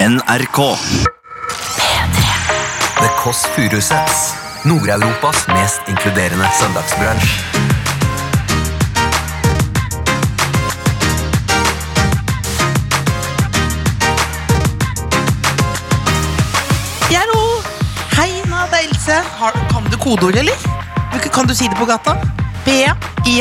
NRK. The Kåss Furuseths. Nord-Europas mest inkluderende søndagsbransj. Jeg er Ro. Hei, Ina, det er Else. Har, kan du kodeord, eller? Du, kan du si det på gata? B, I,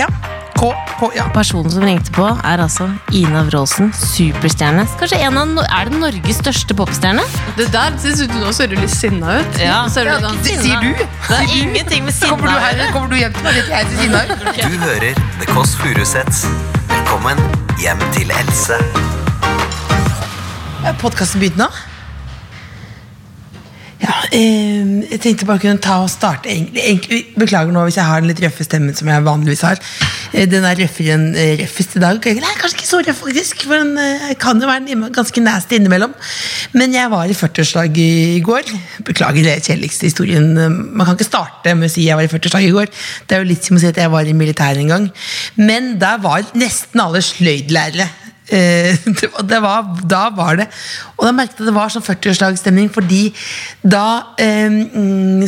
K, K, ja. Personen som ringte på er altså Ina Wroldsen, superstjerne. Kanskje en av, no- Er det Norges største popstjerne? Det der synes du nå ser du litt sinna ut. Ja. Ser du Jeg er sånn, ikke sinna. Sier du? Det har ingenting med sinne Kommer du, her, kommer du hjem til meg? Vet jeg til Sina? Du hører The Kåss Furuseths. Velkommen hjem til Else. Er podkasten begynt nå? Ja, eh, jeg tenkte bare kunne ta og starte egentlig- egentlig- Beklager nå hvis jeg har den litt røffe stemmen som jeg vanligvis har. Eh, Den er røffere enn eh, røffest i dag. Nei, kanskje ikke så røff, faktisk. For den eh, kan jo være inne- ganske nasty innimellom. Men jeg var i 40-årslag i går. Beklager det kjedeligste historien. eh, Man kan ikke starte med å si jeg var i 40-årslag i går. Det er jo litt som å si at jeg var i militæret en gang. Men der var nesten alle sløydlærere. Eh, det var, det var, da var det Og da merket jeg det var sånn 40-årslagsstemning, fordi da eh, mm,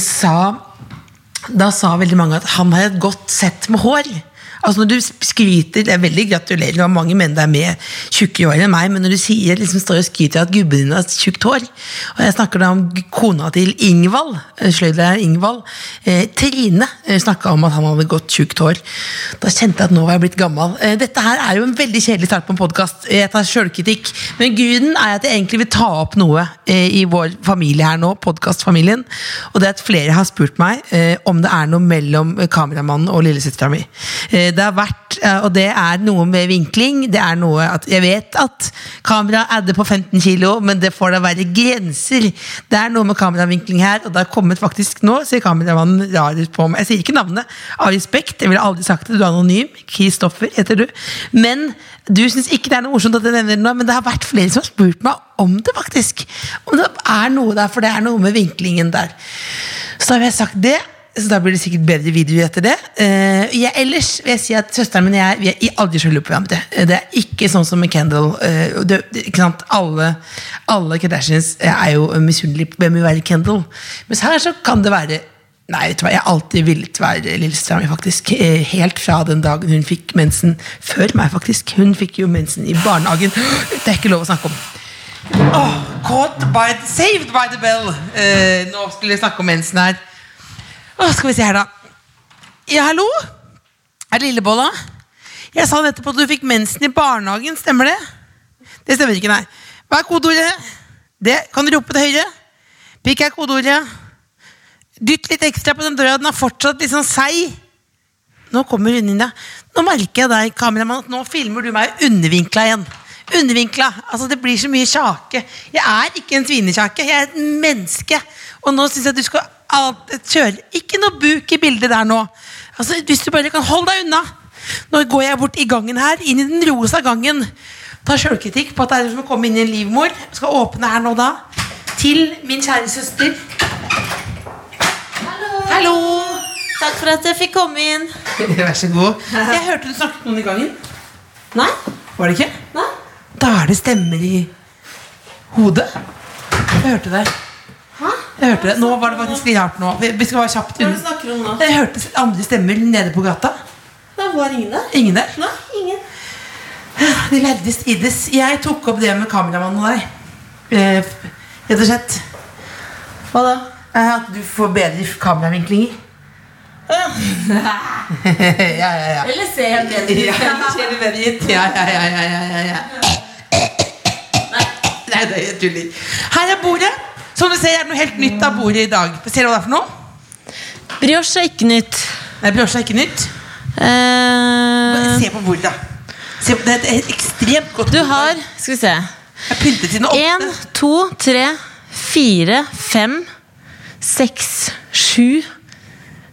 sa Da sa veldig mange at han har et godt sett med hår. Altså når du skryter, Det er veldig gratulerer, det var mange menn der med tjukke hår enn meg, men når du sier, liksom står og skryter av at gubben din har tjukt hår Og jeg snakker da om g- kona til Ingvald, eh, sløydlæreren Ingvald. Eh, Trine snakka om at han hadde godt tjukt hår. Da kjente jeg at nå var jeg blitt gammel. Eh, Dette her er jo en veldig kjedelig start på en podkast. Jeg tar sjølkritikk. Men grunnen er at jeg egentlig vil ta opp noe eh, i vår familie her nå, podkastfamilien. Og det er at flere har spurt meg eh, om det er noe mellom eh, kameramannen og lillesøstera mi. Eh, Det har vært, eh, og det er noe med vinkling. Det er noe at Jeg vet at kamera adder på 15 kilo, men det får da være grenser. Det er noe med kameravinkling her, og det har kommet faktisk nå, ser kameramannen rar ut på meg. Jeg sier ikke navnet, av respekt. Jeg ville aldri sagt det, du er anonym. Kristoffer heter du. Men du syns ikke det er noe morsomt at jeg nevner det nå, men det har vært flere som har spurt meg om det, faktisk. Om det er noe der, for det er noe med vinklingen der. Så har jeg sagt det. Så da blir det sikkert bedre videoer etter det. Eh, jeg, ellers vil jeg si at søsteren min og jeg vi er aldri sjalu på hverandre. Eh, Det er ikke sånn som med Kendall. eh, og det, det, ikke sant? Alle, alle Kardashians eh, er jo misunnelige på hvem vil være Kendall. Mens her så kan det være Nei, vet du hva, jeg har alltid villet være lillesøstera mi, faktisk. Eh, Helt fra den dagen hun fikk mensen. Før meg, faktisk. Hun fikk jo mensen i barnehagen. Det er ikke lov å snakke om. Åh, caught by, saved by the bell. Eh, nå skulle jeg snakke om mensen her. Åh, skal vi se her, da. Ja, hallo? Er det Lillebolla? Jeg sa nettopp at du fikk mensen i barnehagen, stemmer det? Det stemmer ikke, nei. Hva er kodeordet? Det, kan du rope det høyere? Pikk er kodeordet. Dytt litt ekstra på den døra, den er fortsatt litt sånn seig. Nå kommer hun inn, ja. Nå merker jeg deg, kameramann, at nå filmer du meg undervinkla igjen. Undervinkla. Altså, det blir så mye kjake. Jeg er ikke en svinekjake, jeg er et menneske. Og nå syns jeg at du skal alt, kjøre Ikke noe buk i bildet der nå. Altså, Hvis du bare kan holde deg unna. Nå går jeg bort i gangen her, inn i den rosa gangen. Tar sjølkritikk på at det er som å komme inn i en livmor. Skal åpne her nå da. Til min kjære søster. Hallo! Takk for at jeg fikk komme inn. Vær så god. Jeg hørte du snakket med noen i gangen. Nei? Var det ikke? Nei? Da er det stemmer i hodet. Jeg hørte det. Jeg hørte det. Nå var det faktisk litt hardt nå. Vi vi skal være kjapt Hva er det du unna. snakker om nå? Jeg hørte andre stemmer nede på gata. Det var ingen der. Ingen der. Nei, ingen. De lærde strides. Jeg tok opp det med kameramannen og deg. Eh, Rett og slett. Hva da? Eh, At du får bedre kameravinklinger. ja, ja, ja. Eller se helt Ja, ser du bedre ut? Ja, ja, ja, ja, ja, ja, ja. Nei, det er tuller. Her er bordet. Som du ser, er det noe helt nytt av bordet i dag. Ser du hva det er for noe? Brioche er ikke nytt. Nei, brosje er ikke nytt. Bare Eh, Se på bordet, da. Se på, det er et ekstremt godt du bord. har Skal vi se. Jeg har pyntet siden Én, åtte. to, tre, fire, fem, seks, sju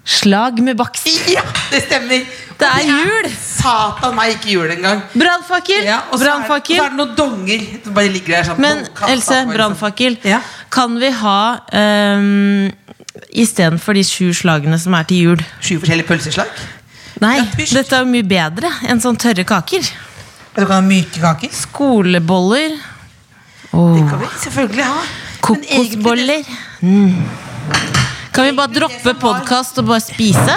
slag med bakst. Ja, det stemmer. Det Og er jul! Satan meg, ikke jul engang. Brannfakkel! Ja, og så er, og så brannfakkel. er det noen donger som bare ligger der. Sånn, Men kasta på, Else, liksom. brannfakkel. Ja. Kan vi ha um, istedenfor de sju slagene som er til jul? Sju forskjellige pølseslag. Nei, Ja, pysj. dette er jo mye bedre enn sånn tørre kaker. Og du kan ha myke kaker. Skoleboller. Det kan vi selvfølgelig ha. Men egentlig- Kokosboller. Mm. Kan vi bare droppe podkast og bare spise?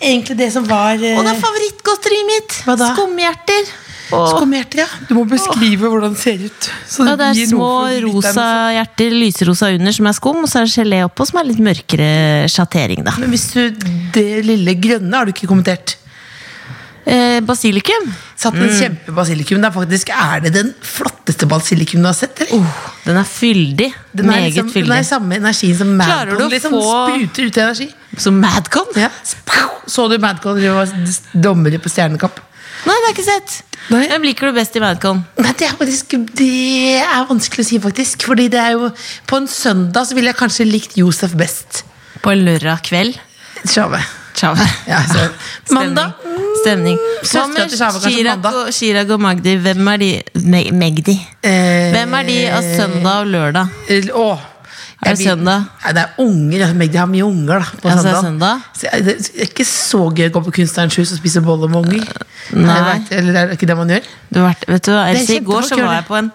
Egentlig det som var eh, Og det er favorittgodteriet mitt! Hva da? Skumhjerter. Skomhjerter, ja. Du må beskrive hvordan det ser ut. Så Ja, det er gir noe små for lytteren. rosa hjerter, lyserosa under, som er skum, og så er det gelé oppå, som er litt mørkere sjattering, da. Men hvis du, det lille grønne har du ikke kommentert. Eh, basilikum. Satt en kjempebasilikum. Det er faktisk er det den flotteste basilikumen du har sett. Eller? Den er fyldig. Oh. den, er Meget liksom, den fyldig. er samme energien som Klarer du Madcon. å Liksom, få- Spruter ut energi. Som Madcon? Ja. Så du Madcon drive og var dommere på Stjernekamp? Nei, det har jeg ikke sett. Nei. Hvem liker du best i Madcon? Nei, det er faktisk Det er vanskelig å si, faktisk. Fordi det er jo På en søndag så ville jeg kanskje likt Josef best. På lørdag kveld? Sjave. Tjave. Ja, så, mandag. Stemning. Hva søstera med til Tjave, kanskje Chirag mandag. og, Chirag og Magdi? Hvem er de? Me- Magdi. Eh, Hvem er de av søndag og lørdag? Eller- Åh. Er det Jeg vil- søndag? Nei, det er unger. altså, Meg, de har mye unger da, på Ja, så er det søndag. søndag? Så er det det er ikke så gøy å gå på Kunstnerens hus og spise boller med unger. Nei. Jeg vet, eller det er ikke det man gjør. Du har vært, vet du, hva, Det er Else, I går kjempefolk så gjør var det. jeg på en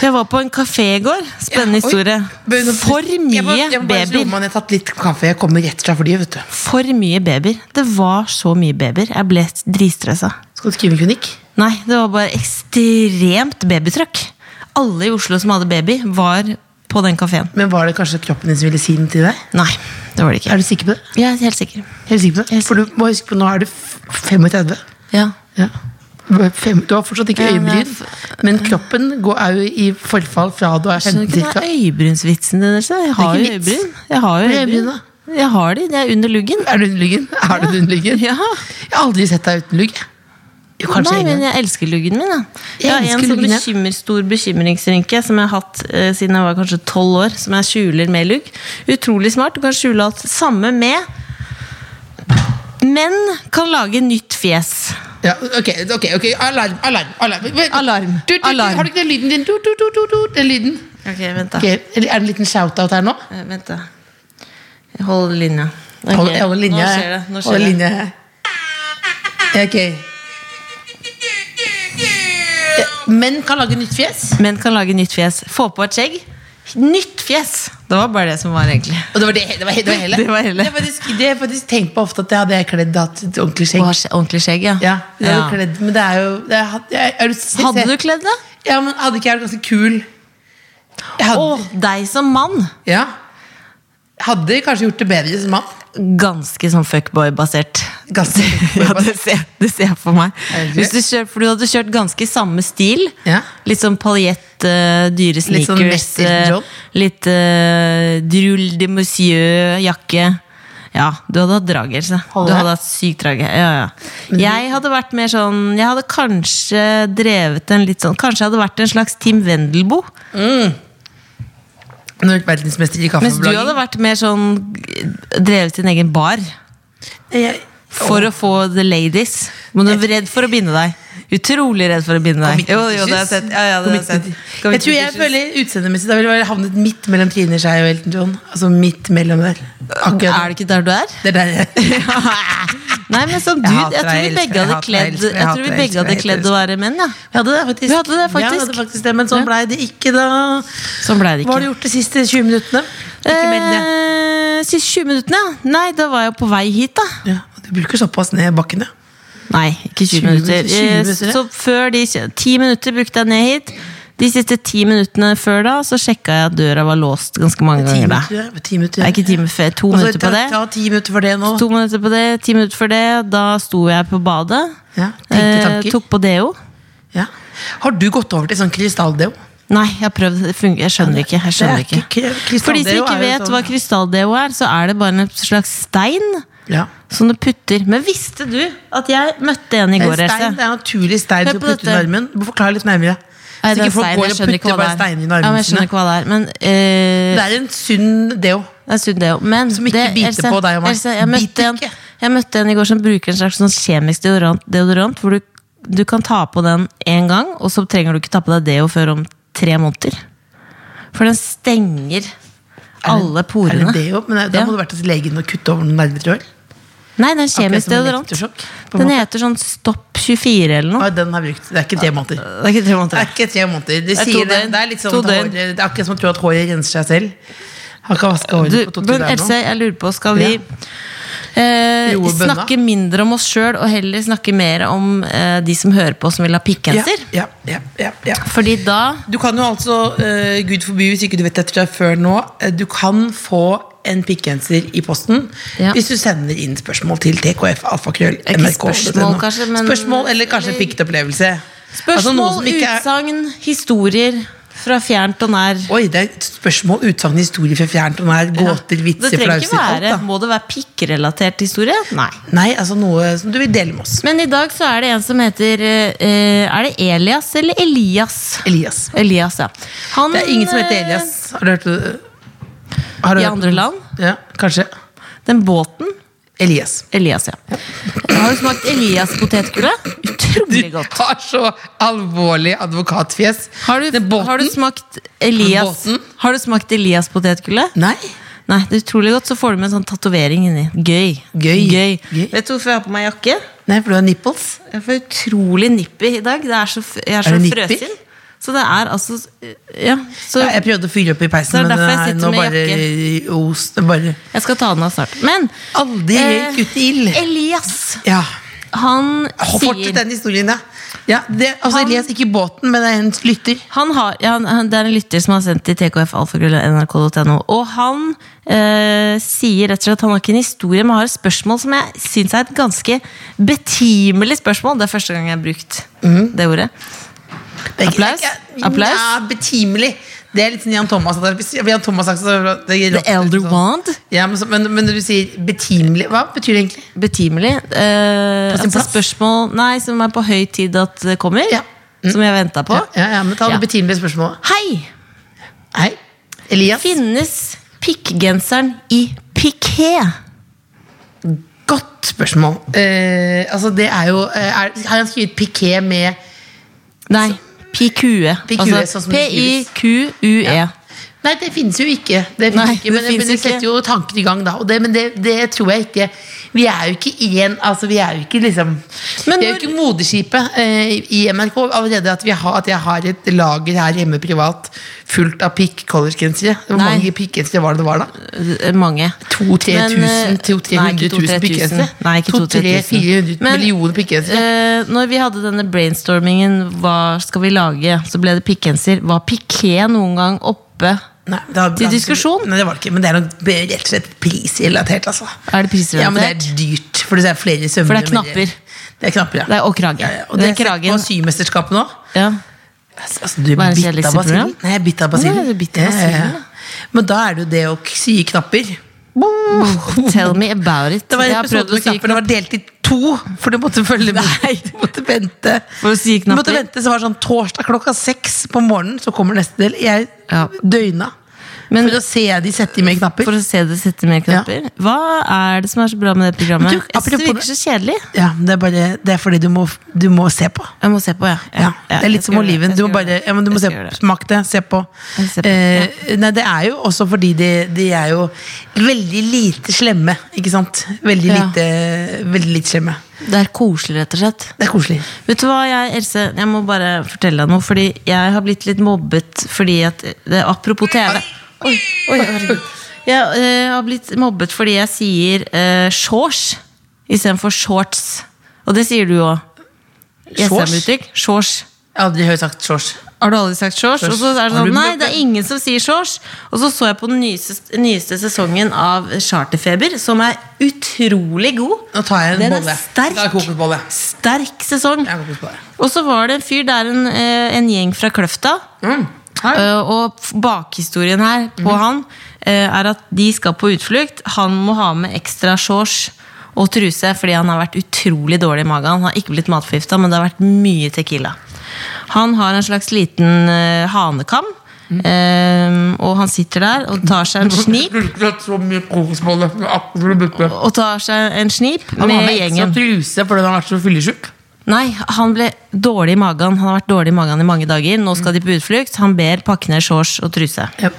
Jeg var på en kafé i går. Spennende Oi. historie. Bør du- For Jeg må- mye jeg må bare slå babyer. meg ned, Jeg har tatt litt kaffe. Jeg kommer rett fra flyet, vet du. For mye babyer. Det var så mye babyer. Jeg ble dritstressa. Skal du skrive en kronikk? Nei, det var bare ekstremt babytrøkk. Alle i Oslo som hadde baby, var på den kafeen. Men var det kanskje kroppen din som ville si den til deg? Nei, det var det Er ikke. du sikker på det? Jeg er helt sikker. Helt sikker på det? Helt For du må huske på, nå er du f- 35. Ja. Ja. Du er fem- Du har fortsatt ikke Ja, men jeg er øyebryn, men kroppen går, er jo i forfall fra du er Skjønner 50 du ikke cirka. den øyebrynsvitsen din? Else? Jeg har ikke jo vits. øyebryn. Jeg har jo Hvor er øyebryn. øyebrynene? Jeg har de, de er under luggen. Er du under luggen? Er du under luggen? Ja. Jeg har aldri sett deg uten lugg. Jo, kanskje Nei, en men gang. jeg elsker luggen min. Da. Jeg Jeg har en elsker sånn luggen, ja. bekymmer, stor bekymringsrynke som jeg har hatt eh, siden jeg var kanskje tolv år, som jeg skjuler med lugg. Utrolig smart. Du kan skjule alt. Samme med Menn kan lage nytt fjes. Ja, ok, ok, ok, alarm, alarm, alarm. Vent. Alarm, Du, du, du, alarm. Har du ikke den lyden din? Du, du, du, du, du, den lyden. Ok, vent da. Ok, Er det en liten shout-out her nå? Eh, vent da. Hold linja. Ok, Hold, jeg holder linja. Nå jeg. skjer det. Nå Holder skjer det. linja, jeg. Ja, Ok. Ja, Menn kan lage nytt fjes. Menn kan lage nytt fjes. Få på et skjegg. Nytt fjes! Det var bare det som var, egentlig. Og det var det, det, var, det var hele. Det var hele. Det er faktisk, det er faktisk tenkt på ofte at det hadde jeg kledd hatt et ordentlig Å skjegg. ha skje- Ordentlig skjegg, ja. Ja, det hadde Ja. jeg kledd, men det er jo det er, jeg, er du, Hadde du kledd det? Ja, men hadde ikke jeg vært ganske kul? Jeg hadde, Å, deg som mann! ja. hadde kanskje gjort det bedre som mann. ganske sånn fuckboy-basert. Ganske fuckboy-basert. ja, det ser, det ser jeg for meg. Er det det? Hvis du kjør, for du hadde kjørt ganske samme stil. Ja. Litt sånn paljett, eh, dyre Litt sånn sneakers. Messi eh, John. litt eh, drul de monsieur-jakke. Ja, du hadde hatt drag, Else. Holder Du jeg? hadde hatt sykt drag. Ja, ja. Jeg hadde vært mer sånn Jeg hadde kanskje drevet en litt sånn Kanskje jeg hadde vært en slags Tim Wendelboe. Når du er verdensmester i Mens du hadde kaffeblogging. vært mer sånn Drevet din egen bar. Jeg- For å få the ladies. Men du er redd for å binde deg. Utrolig redd for å binde deg. Jo, jo, det har jeg sett. Ja, ja, det har jeg sett. Jeg tror jeg føler utseendemessig Da ville jeg havnet midt mellom Trine Skei og Elton John. Altså midt mellom der. Er Akkurat. det ikke der du er? Det er der jeg Nei, men som Jeg dude, hater jeg tror vi deg, begge jeg hadde elsker kledd deg, jeg Jeg tror hater vi deg, begge jeg hadde elsker kledd deg. å være menn, ja. hadde det, faktisk. Vi hadde det, faktisk. Jeg hadde faktisk det, men sånn blei det ikke, da. Sånn ble det Hva har du ikke. gjort de siste 20 minuttene? Ikke meld det. Eh, Siste 20 minuttene, ja. Nei, da var jeg på vei hit, da. Ja, du bruker såpass ned bakken, ja. Nei, ikke 20 20 minutter. minutter, 20 Eh, minutter, ja. Så før de 10 minutter brukte jeg ned hit. De siste 10 minuttene før da, så sjekka jeg at døra var låst ganske mange Ti ganger. da minutter. ja. Ti minutter. Det er ikke time før, to minutter på det. Ta, ta ti minutter for det nå. To minutter på det, ti minutter for det. Da sto jeg på badet. Eh, Ja, tenkte tanker. tok på deo. Ja. Har du gått over til sånn krystalldeo? Nei, jeg har prøvd. Det fungerer. Jeg skjønner ikke. Jeg skjønner Det er ikke. ikke- krystalldeo For de som er ikke jo vet sånn- hva krystalldeo er, så er det bare en slags stein Ja. som du putter. Men visste du at jeg møtte en i En går, stein, det Else? er en naturlig stein Hør du på putter under dette. armen. Du må forklare litt nærmere. Nei, Så det er ikke folk stein, går jeg og skjønner ikke hva putter bare det er. steiner i Ja, men armene jeg skjønner sine. ikke hva det er. Men, Det eh, er en sunn deo. det er sunt det jo. Men Som ikke det- biter på deg og meg. Else, jeg, møtte Biter en, ikke. jeg møtte en i går som bruker en slags sånn kjemisk deodorant, deodorant hvor du, du kan ta på den én gang, og så trenger du ikke ta på deg deo før om tre måneder. For den stenger alle Er porene. det deo? Men da Ja. må du vært hos legen og kutte over noen nerver, tror jeg. Nei, det er en Akkurat kjemisk som en deodorant. elektrosjokk, på en Den måte. heter sånn Stopp 24 eller noe. Ja, den har jeg brukt. Det er ikke tre måneder. Det er ikke tre Det er måneder. ikke tre måneder. Det, er to sier det. døgn. Det, er litt sånn To at håret, døgn. det er akkurat som å tro at håret renser seg selv. Har ikke vaska håret Du, på to-tre men dager nå. Else, jeg lurer på, skal vi Ja. eh, Roe bønna. snakke mindre om oss sjøl og heller snakke mer om eh, de som hører på som vil ha pikkgenser? Ja, ja, ja, ja, ja. Fordi da Du kan jo altså, eh, gud forby hvis ikke du vet dette fra før nå, eh, du kan få en pikkgenser i posten Ja. hvis du sender inn spørsmål til Ikke tkf.alfakrøll.nrk.no. spørsmål, kanskje, men- spørsmål eller kanskje en pikkopplevelse. Altså, noe Spørsmål, som ikke er- utsagn, historier fra fjernt og nær. Oi, det er et spørsmål, utsagn, historie fra fjernt og nær, gåter, vitser, Det trenger flauser. ikke alt, være, da. Må det være pikkrelatert historie? Nei. Nei, altså noe som du vil dele med oss. Men i dag så er det en som heter eh, Er det Elias eller Elias? Elias. Elias, ja. Han, Det er ingen som heter eh, Elias. Har du hørt det? Har du I hørt andre det? land? Ja, kanskje. Den båten. Elias. Elias, ja. Har du smakt Elias-potetgullet? Utrolig godt. har så alvorlig advokatfjes. Har du, Den båten? har du smakt Elias Båten? Har du smakt Elias-potetgullet? Nei. Nei, det er utrolig godt. Så får du med en sånn tatovering inni. Gøy. Gøy. Gøy. Gøy. Vet du hvorfor jeg har på meg jakke? Nei, for du har nipples. Jeg får utrolig nippy i dag. Det er så, f- jeg er så Er det nippy? frøsen. Så det er altså Ja. Så Ja, jeg prøvde å fyre opp i Så peisen, det er men derfor det jeg er sitter nå med bare ost. det er Bare jeg skal ta den av snart. Men aldri Eh, røyk uten ild. Elias, Ja. han Fortsett sier den historien, ja. ja det, altså, Han- Elias, ikke båten, men det er en lytter. han har, ja, han- han, Det er en lytter som har sendt til tkfalfagrøll.nrk.no. Og han eh, sier rett og slett at han har ikke en historie, men har et spørsmål som jeg syns er et ganske betimelig spørsmål. Det er første gang jeg har brukt Mhm. det ordet. Begge- Applaus? Ja, Applaus? Ja, betimelig. Det er litt sånn Jan Thomas. at det er- Hvis Jan Thomas sagt, så det gir The elder wand. Ja, men, så, men, men når du sier betimelig, hva betyr det egentlig? Betimelig. Eh, På sin altså plass? spørsmål nei, som er på høy tid at det kommer. Ja. Som jeg venta på. Ja, ja, ja, men ta det Ja. betimelige spørsmålet. Hei! Hei, Elias. Finnes pikkgenseren i piké? Godt spørsmål. Eh, altså, det er jo eh, er, Har han skrevet piké med Nei, E. pikue. Pikue, Altså, sånn som det skrives. P-i-q-u-e. Nei, det finnes jo ikke. Det finnes Nei, ikke men det det, finnes men det ikke. setter jo tanken i gang, da. Og det, men det, det tror jeg ikke. Vi er jo ikke én altså, Vi er jo ikke liksom Men Vi er jo når- ikke moderskipet eh, i NRK. Allerede at, vi har, at jeg har et lager her hjemme privat fullt av pikk collegegensere. Hvor Nei. mange pikkgensere var det det var, da? Eh, Mange. eh, 2000-3000 000 pikkgensere? Nei, ikke 200-400 Men, millioner pikkgensere? eh, når vi hadde denne brainstormingen, hva skal vi lage, så ble det pikkgenser. Var piké noen gang oppe? Nei, det har- til diskusjon? Nei, det var det ikke, men det er nok be- rett og slett prisrelatert. Altså. Er det prisrelatert? Ja, men det er dyrt, for det er flere sømmer. For det er knapper. Det er knapper, ja. Det er, og krage. ja, ja. Og Den det er kragen. kragen. på symesterskapet nå. Ja. Altså, du Verdens bitt av kjedeligste basillen. program? Nei, jeg er bitt av Å, basillen. du er bitt av basillen, ja. Men da er det jo det å k- sy i knapper. Tell me about it. Det var Jeg en har prøvd episode å med si knapper, det var delt i to, for du måtte følge med. Du måtte vente. For å sy Du måtte knapper? vente, så var det sånn torsdag klokka seks på morgenen, så kommer neste del. Jeg Ja. døgna. Men- for å se de sette i meg knapper. For å se det sette mer knapper. Hva er det som er så bra med det programmet? Du, jeg synes det apropos virker så kjedelig. Ja, men det er, bare, det er fordi du må, du må se på. Jeg må se på, ja. Ja, det er litt som oliven. Du må bare ja, men du må se, smak det, se på. Jeg ser på, Eh, nei, det er jo også fordi de, de er jo veldig lite slemme, ikke sant? Veldig Ja. lite, veldig lite slemme. Det er koselig, rett og slett. Det er koselig. Vet du hva, jeg, Else, jeg må bare fortelle deg noe. Fordi jeg har blitt litt mobbet fordi at det, Apropos TV. Oi, oi, herregud. Jeg eh, har blitt mobbet fordi jeg sier uh, shorts istedenfor shorts. Og det sier du jo òg. SM-uttrykk. Shorts. Jeg har aldri hørt sagt shorts. Har du aldri sagt shorts? Shorts. Og så er det Har du- sånn, nei, det er ingen som sier shorts. Og så så jeg på den nyeste, nyeste sesongen av Charterfeber, som er utrolig god. Nå tar jeg en Den bolle. er sterk. Da er kokosbolle. Sterk sesong. Jeg er kokosbolle. Og så var det en fyr, det er en, eh, en gjeng fra Kløfta. Eh, Og f- bakhistorien her på han eh, er at de skal på utflukt. Han må ha med ekstra shorts og truse fordi han har vært utrolig dårlig i magen. Han har ikke blitt matforgifta, men det har vært mye tequila. Han har en slags liten eh, hanekam. eh, og han sitter der og tar seg en snip. så mye kokosbolle. Han Og tar seg en snip har med med ekstra gjengen. truse fordi han har vært så fyllesyk. Nei, han ble dårlig i Mhm. magen. Han har vært dårlig i magen i mange dager. Nå skal de på utflukt. Han ber pakke ned shorts og truse. Ja.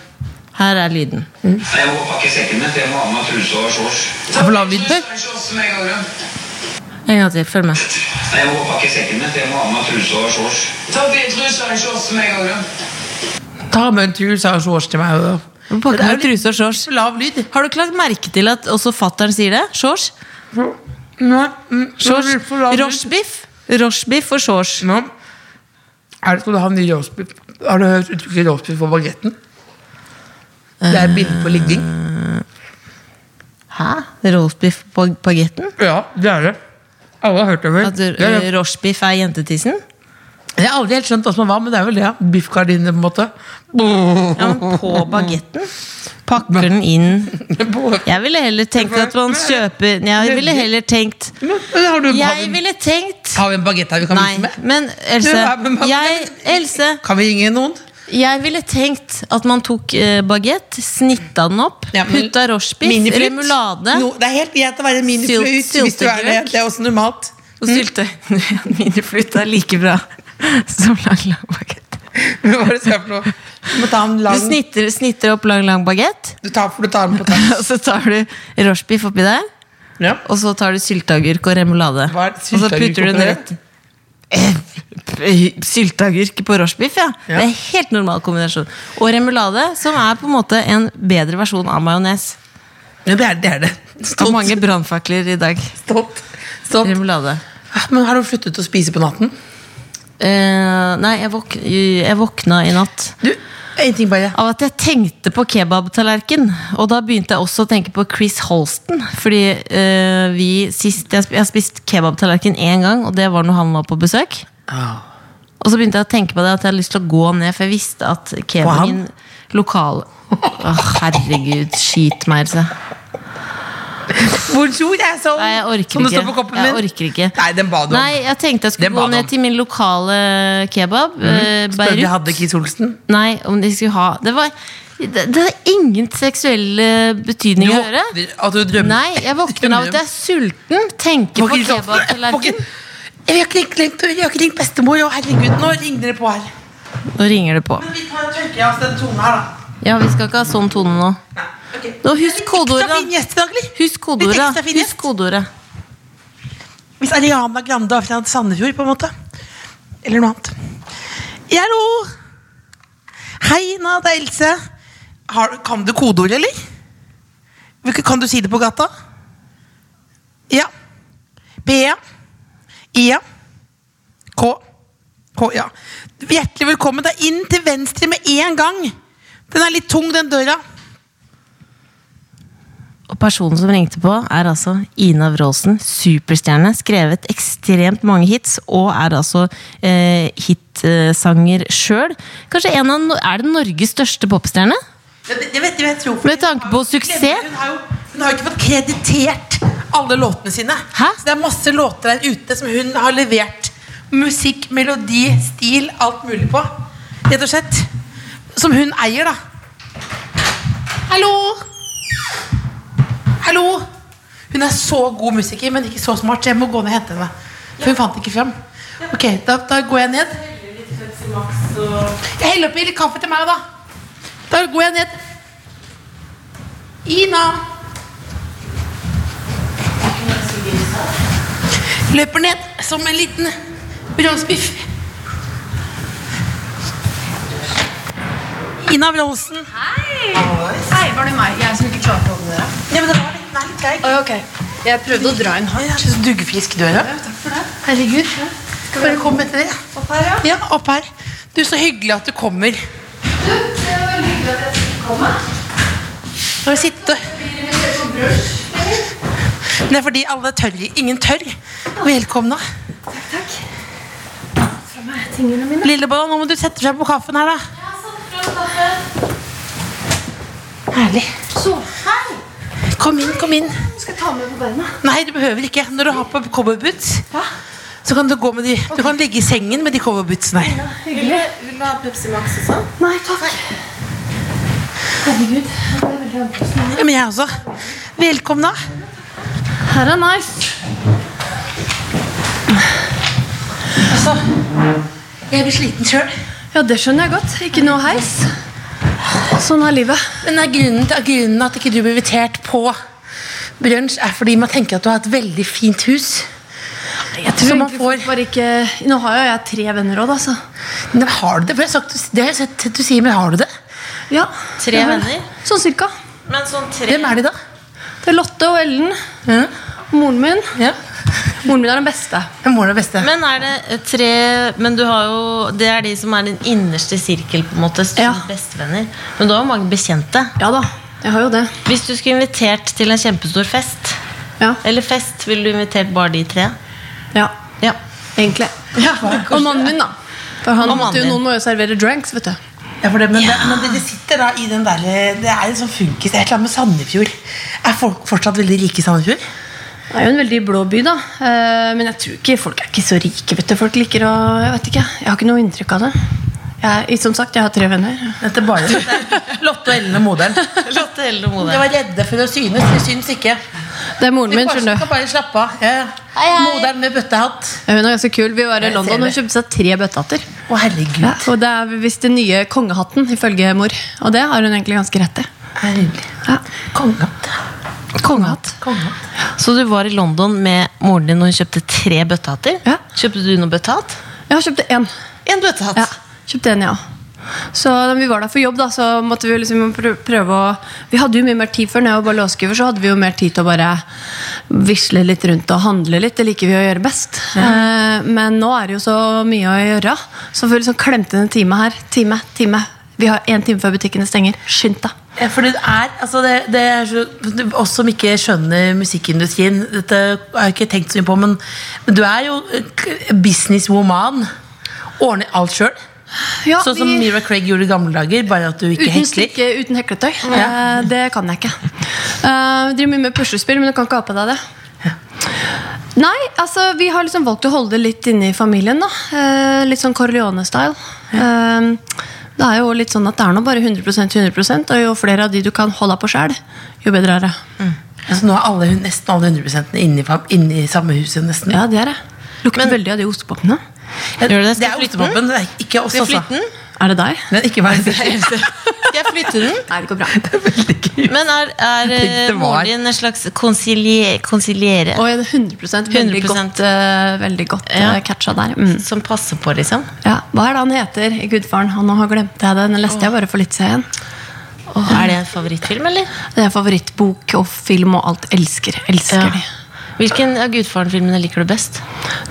Her er lyden. Jeg må pakke sekken min, for jeg må ha med meg truse og shorts. Det er for lav lyd før. En gang til. Følg med. Jeg må pakke sekken min, for jeg må ha med meg truse og shorts. Ta på deg truse og shorts som jeg har, da. Ta med en tur, sa Sjors til meg. og- Pakke Det er med jo litt truse og shorts. for lav lyd. Har du ikke lagt merke til at også fatteren sier det? Shorts? Nei, mm, Shorts? for lav lyd. Rochebiff? Rochebiff og shorts. Nå er det, skal du ha en ny roastbeef. Har du hørt uttrykket roastbeef på bagetten? Det er bilde på ligging. Eh. Hæ? Rochebiff på bagetten? Ja, det er det. Alle har hørt det før. At Det er det. eh, rochebiff er jentetissen? Jeg har aldri helt skjønt hva som var, men det er vel det. ja. Biffgardiner, på en måte. Ja, men på bagetten? Pakker den inn Jeg ville heller tenkt at man kjøper Jeg ville heller tenkt Men Har du har vi- Jeg ville tenkt har vi en bagett her vi kan Nei, vise med? men Else, Ja, men- jeg, Else Kan vi ringe noen? jeg ville tenkt at man tok eh, bagett, snitta den opp, Ja, men- putta rochebiff, Minifrukt. remulade No, det er helt greit å være minifrukt Sylt- hvis du er det. syltegrøt. Det er også normalt. og syltetøy. Minifrukt er like bra som lang, lang bagett. Men Hva er det du skal for noe? Du må ta en Du lang snitter, snitter opp lang, lang bagett, Du tar, du tar den på tatt. og så tar du rochebiff oppi der. Ja. Og så tar du sylteagurk og remulade. Hva er Og så sylteagurk putter du den oppi rett Eh, p- Sylteagurk på rochebiff, ja. Ja. Det er helt normal kombinasjon. Og remulade, som er på en måte en bedre versjon av majones. Ja, det er det. Er det. Og Stolt. mange brannfakler i dag. Stolt. Stolt. Remulade. Ah, Men har du sluttet å spise på natten? Eh, nei, jeg, våk jeg våkna i natt Du, en ting bare. av at jeg tenkte på kebabtallerken. Og da begynte jeg også å tenke på Chris Holsten. Fordi eh, vi sist Jeg, sp jeg har spist kebabtallerken én gang, og det var når han var på besøk. Og så begynte jeg å tenke på det at jeg hadde lyst til å gå ned, for jeg visste at kebaben lokal... Å, herregud, skit meg, Else. Bonjour, jeg er sånn. Nei, jeg orker som det ikke. står på koppen Jeg min. orker ikke. Nei, den ba du om. Nei, jeg tenkte jeg Den skulle ba gå du om. ned til min lokale kebab. eh, Mhm. Spør de Beirut. hadde Chris Olsen. Nei, om de skulle ha Det var det, det har ingen seksuell eh, betydning å gjøre. våkner- at du drømmer. Nei, jeg våkner av at jeg er sulten, tenker på Chris Olsen. kebabtallerken. Fucking- Jeg har ikke ringt- ringt, jeg har ikke ringt bestemor. Å, herregud, nå ringer dere på her. Nå ringer det på. Men vi tar tørker av oss den tonen her, da. Ja, vi skal ikke ha sånn tone nå. Nei, ok. Nå, husk kodeordet, da. Litt ekstra fin gjest i dag, eller? Husk Litt kodeordet. ekstra fin gjest. Husk kodeordet. Hvis Ariana Grande var fra Sandefjord, på en måte. Eller noe annet. Hallo! Hei, Ina, det er Else. Har, kan du kodeord, eller? Hvilke- Kan du si det på gata? Ja. B-E. I-E. K. K, ja. Hjertelig velkommen. deg inn til venstre med en gang. Den er litt tung, den døra. Og personen som ringte på, er altså Ina Wroldsen. Superstjerne. Skrevet ekstremt mange hits, og er altså eh, hitsanger sjøl. Kanskje en av no Er det Norges største popstjerne? Ja, det, det vet jeg, jeg tror Med tanke på suksess. Hun har jo, hun har jo ikke fått kreditert alle låtene sine. Hæ? Så det er masse låter der ute som hun har levert musikk, melodi, stil, alt mulig på. Rett og slett. Som hun eier, da. Hallo! Hallo! Hun er så god musiker, men ikke så smart, så jeg må gå ned og hente henne. For hun fant ikke fram. Ok, da, da går jeg ned. Jeg heller oppi litt kaffe til meg, da. Da går jeg ned. Ina. Løper ned som en liten bronsbiff. Ina Wroldsen. Hei, var det meg? Jeg som ikke klarte å åpne døra. Ja, men det var litt, den er litt treig. Oi, ok. Jeg prøvde å dra inn Oi, det er så duggfrisk døra. Takk for det. Herregud. Velkommen til dere. Opp her, ja. ja. Opp her. Du, så hyggelig at du kommer. Du, det var hyggelig at jeg fikk komme. Nå har vi sittet og Det er fordi alle tør. Ingen tør. Velkomne. Takk, takk. Lillebolla, nå må du sette deg på kaffen her, da. Herlig. Kom inn, kom inn. Skal jeg ta med på beina? Nei, du behøver ikke. Når du har på cowboyboots, så kan du gå med de Du kan ligge i sengen med de cowboybootsene her. Nei, takk. Herregud. det er veldig annerledes nå. Ja, men jeg også. Velkomne. Her er nice. Altså, jeg blir sliten sjøl. Ja, det skjønner jeg godt. Ikke noe heis. Sånn er livet. Men er grunnen til grunnen at ikke du ble invitert på brunsj, er fordi man tenker at du har et veldig fint hus. Jeg tror Så man egentlig får- folk bare ikke Nå har jo jeg tre venner òg, da, så Men har du det? For jeg har sagt, det har jeg sett at du sier, men har du det? ja. Tre jeg har- venner? Sånn cirka. Men sånn tre Hvem er de, da? Hm? Det er Lotte og Ellen. Ja. Moren min. ja. Moren min er den beste. Moren er beste. Men er det tre Men du har jo Det er de som er din innerste sirkel, på en måte. som Ja. Bestevenner. Men du har jo mange bekjente. Ja da, jeg har jo det. Hvis du skulle invitert til en kjempestor fest, Ja, eller fest, ville du invitert bare de tre? ja Ja. egentlig. Og mannen min, da. For han Og mannen måtte jo, din. noen må jo servere drinks, vet du. Ja, for det, men det, men dere sitter da i den der Det er en sånn funkis. Det er et eller annet med Sandefjord. Er folk fortsatt veldig rike i Sandefjord? Det er jo en veldig blå by, da. Eh, Men jeg tror ikke folk er ikke så rike. vet du Folk liker å Jeg vet ikke, jeg har ikke noe inntrykk av det. Jeg, som sagt, jeg har tre venner. Dette er bare dette er Lotte og Ellen og moderen. Lotte eller De moderen. var redde for å synes. De syns ikke. Det er moren min, Karsten skjønner kan du. bare slappe av. Ja, ja. Moderen med bøttehatt. Hun er ganske kul. Vi var i Jeg ser London det. og kjøpte seg tre bøttehatter. Å, herregud. Og det er visst den nye kongehatten, ifølge mor. Og det har hun egentlig ganske rett i. Herregud. Ja. Kongehatt. Kongehatt. Kongehatt. Så du var i London med moren din, og hun kjøpte tre bøttehatter? Ja. Kjøpte du noe bøttehatt? Jeg kjøpte én. En bøttehatt. Ja, kjøpte en, jeg også. Så da vi var der for jobb, da, så måtte vi jo liksom prø- prøve å Vi hadde jo mye mer tid før. Når jeg var blåskriver, så hadde vi jo mer tid til å bare visle litt rundt og handle litt. Det liker vi å gjøre best. Eh, men nå er det jo så mye å gjøre. Så vi liksom klemte inn en time her. Time, time. Vi har én time før butikkene stenger. Skynd deg. Ja, For det er, altså det, det er så, Oss som ikke skjønner musikkindustrien Dette har jeg ikke tenkt så mye på, men, men du er jo eh, k- businesswoman. Ordner alt sjøl. Ja, sånn som vi- Mira Craig gjorde i gamle dager, bare at du ikke Uten hekler. strikke, uten hekletøy. Eh, det kan jeg ikke. Eh, driver mye med puslespill, men du kan ikke ha på deg det. Nei, altså vi har liksom valgt å holde det litt inne i familien. da eh, Litt sånn Corleone-style. Eh, det er jo litt sånn at det er nå bare 100 100 og jo flere av de du kan holde på sjæl, jo bedre er det. Altså, nå er alle, hun- nesten alle 100 inni, fam- inni samme huset. nesten Ja, det er det. Lukter veldig av de ostepopene. Ja, Gjør du det? Skal det er jeg flytte ostepopen. det er Ikke oss, Skal jeg altså. flytte den? Er det deg? Men ikke meg. Skal jeg flytte den? Nei, det går bra. Men er, er Jeg tenkte eh, det var. moren din en slags konsilie, konsiliere Og 100 veldig 100%. godt, eh, veldig godt Ja. eh, catcha der. Mm. som passer på, liksom? Ja, Hva er det han heter i Gudfaren? Han har glemt jeg det. Den leste jeg bare for litt siden. Er det en favorittfilm, eller? Det er favorittbok og film og alt. Elsker. Elsker de. Hvilken av Gudfaren-filmene liker du best?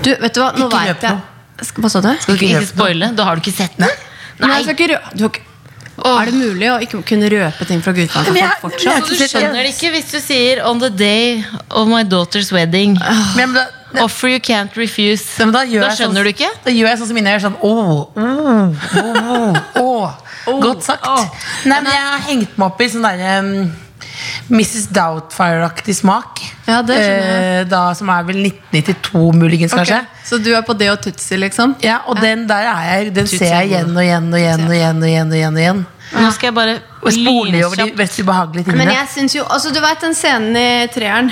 Du, vet du hva? Nå Ikke vet røp jeg noe. Sk- Hva sa du? Skal ikke, Ikke ikke røpe spoile. Da har du ikke sett den? Nei, jeg skal ikke rø du har ikke... Er det mulig å ikke kunne røpe ting fra Gudfaren? Men til jeg- folk fortsatt? jeg- Så Altså, du skjønner det ikke hvis du sier 'On the day of my daughter's wedding'. Men da, Offer you can't refuse. ja, men da, gjør Da jeg skjønner sånn, du ikke? Da gjør jeg sånn som inne. Jeg gjør sånn åh, åh, åh, åh. Godt sagt. åh. Nei, men jeg har hengt meg opp i sånn derre um, Mrs. Doubtfire-aktig smak. Ja, det skjønner Eh, da, som er vel 1992, muligens, Ok, kanskje. Så du er på det og Tutsi, liksom? Ja, Og den der er jeg, den ser jeg igjen og igjen og igjen. og igjen og igjen og igjen Og igjen Nå skal jeg bare Og spoler over de lynkjapt- mest ubehagelige Men tingene. jeg syns jo Altså, du veit den scenen i treeren.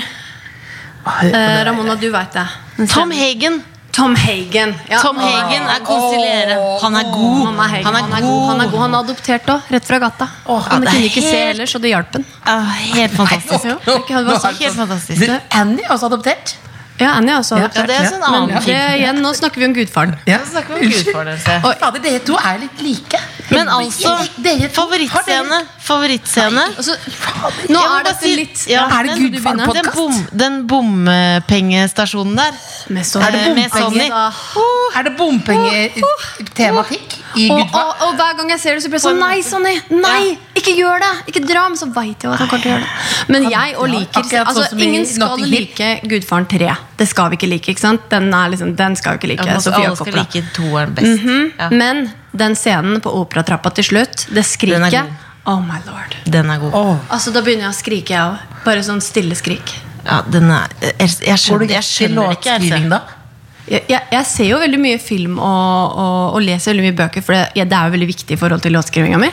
Eh, Ramona, du veit det. Den Tom scenen- Hagen Tom Hagen. Ja. Tom Hagen er konsiliere. Han er god. Han er, Hagen. Han er god. Han er, god. Han er adoptert òg, rett fra gata. Åh, han det er kunne ikke se helt- ellers, og det hjalp han. Ah, Helt fantastisk. Ja, det kan være sånn. Helt fantastisk. Du, Annie er også adoptert. Ja, Annie er også Ja, Ja, adoptert. det er en sånn Men annen det, film. igjen, nå snakker vi om gudfaren. Ja. Nå snakker vi om Unnskyld. Gudfaren, altså. Oi. Fader, dere to er litt like. Men altså, dere to favorittscene Favorittscene Altså, Fader. nå Jeg må er bare dette si- litt ja, Er det men- Gudfaren du begynner? Den, Podcast? bom, den bompengestasjonen der Med sånn- Er det eh, med Sonny bompenger? Er det bompengetematikk i Og, og, Gudfar? og hver gang jeg ser det, så blir jeg sånn Nei, Sonny! Nei! Ikke gjør det! Ikke dra! Men så veit jeg jo at han kommer til å gjøre det. Men jeg og liker Akkurat sånn altså, som i Ingen skal Notting Hill. like Gudfaren 3. Det skal vi ikke like. ikke sant? Den, er liksom, den skal vi ikke Ja, like. man- Sofia Alle skal Coppola. like toeren best. ja, Mhm. Men den scenen på operatrappa til slutt, det Den er skriket god. Oh my lord. den er god. Altså, Da begynner jeg å skrike, jeg òg. Bare sånn stille skrik. Ja, den er, jeg, jeg Går skjønner, du jeg rett til skjønner ikke. låtskriving Else. da? Jeg, jeg, jeg ser jo veldig mye film og, og, og leser veldig mye bøker, for det, ja, Mm. det er jo veldig viktig i forhold til låtskrivinga mi.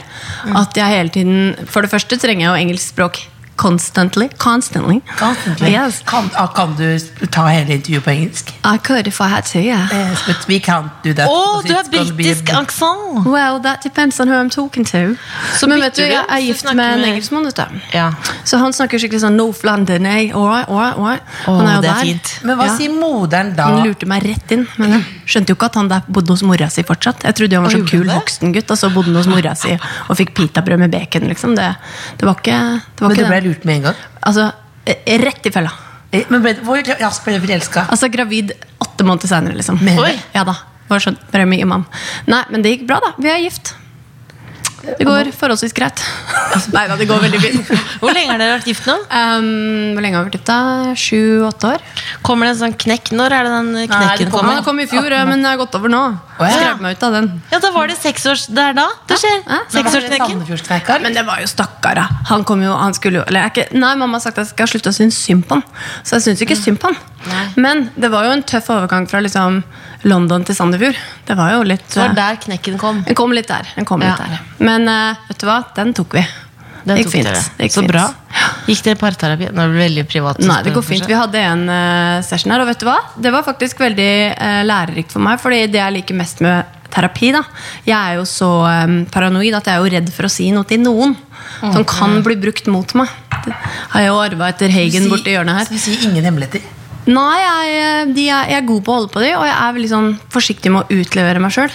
At jeg hele tiden For det første trenger jeg jo engelsk språk Constantly. Constantly. Constantly. Yes. Kan, ah, kan du ta hele intervjuet på engelsk? I could if I had to, yeah. Eh, but we can't do that. Å, because du har it's gonna be a britisk aksent! Well, that depends on who I'm talking to. Men vet du, bytter du, jeg er så gift snakker med en du- engelskmann, vet du. Ja. Så han snakker skikkelig sånn North London, eh? All right, all right, all right. Åh, Han er jo det er der. fint. Men hva Ja. sier moderen da? Han lurte meg rett inn, men jeg skjønte jo ikke at han der bodde hos mora si fortsatt. Jeg trodde jo han var Å, sånn gjorde han kul det? voksen gutt, og så bodde han hos mora si og fikk pitabrød med bacon, liksom. Det, det var ikke det. Var Men du ikke ble det. lurt med en gang? Altså, eh, rett i fella. Eh, Men ble, hvor raskt ble du forelska? Altså, gravid åtte måneder senere, liksom. Mener du? Oi. Ja da. Var sånn, bare mye mann. Nei, men det gikk bra, da. Vi er gift. Det går forholdsvis greit. Nei da, det går veldig fint. Hvor lenge har dere vært gift nå? Um, hvor lenge har vi vært gift? da? Sju-åtte år? Kommer det en sånn knekk? Når er det den det knekken Ja, kommer? den kom i fjor, ja, men jeg har gått over nå. Å, ja. Skrev meg ut av den. Ja, da var det seksårs... Det er da det skjer. Ja. Seksårsknekken. Sandefjordsknekker? Men det var jo stakkara. Han kom jo, han skulle jo eller jeg er ikke, Nei, mamma har sagt at jeg skal slutte å synes synd på han. Så jeg syns jo ikke Mm. synd på han. Men det var jo en tøff overgang fra liksom London til Sandefjord. Det var jo litt Det var eh, der knekken kom. Den kom litt der. Den kom Ja. litt der. Men eh, vet du hva, den tok vi. Den det gikk tok fint. dere. Det gikk så fint. bra. Gikk dere i parterapi? Nå blir det veldig privat. Nei, det går fint. Vi hadde en eh, session her, og vet du hva? Det var faktisk veldig eh, lærerikt for meg, fordi det jeg liker mest med terapi, da. Jeg er jo så eh, paranoid at jeg er jo redd for å si noe til noen som kan bli brukt mot meg. Det har jeg jo arva etter Hagen Si- borti hjørnet her. Så vi sier ingen hemmeligheter? Nei, jeg, eh, de er, jeg er god på å holde på de, og jeg er veldig sånn forsiktig med å utlevere meg sjøl.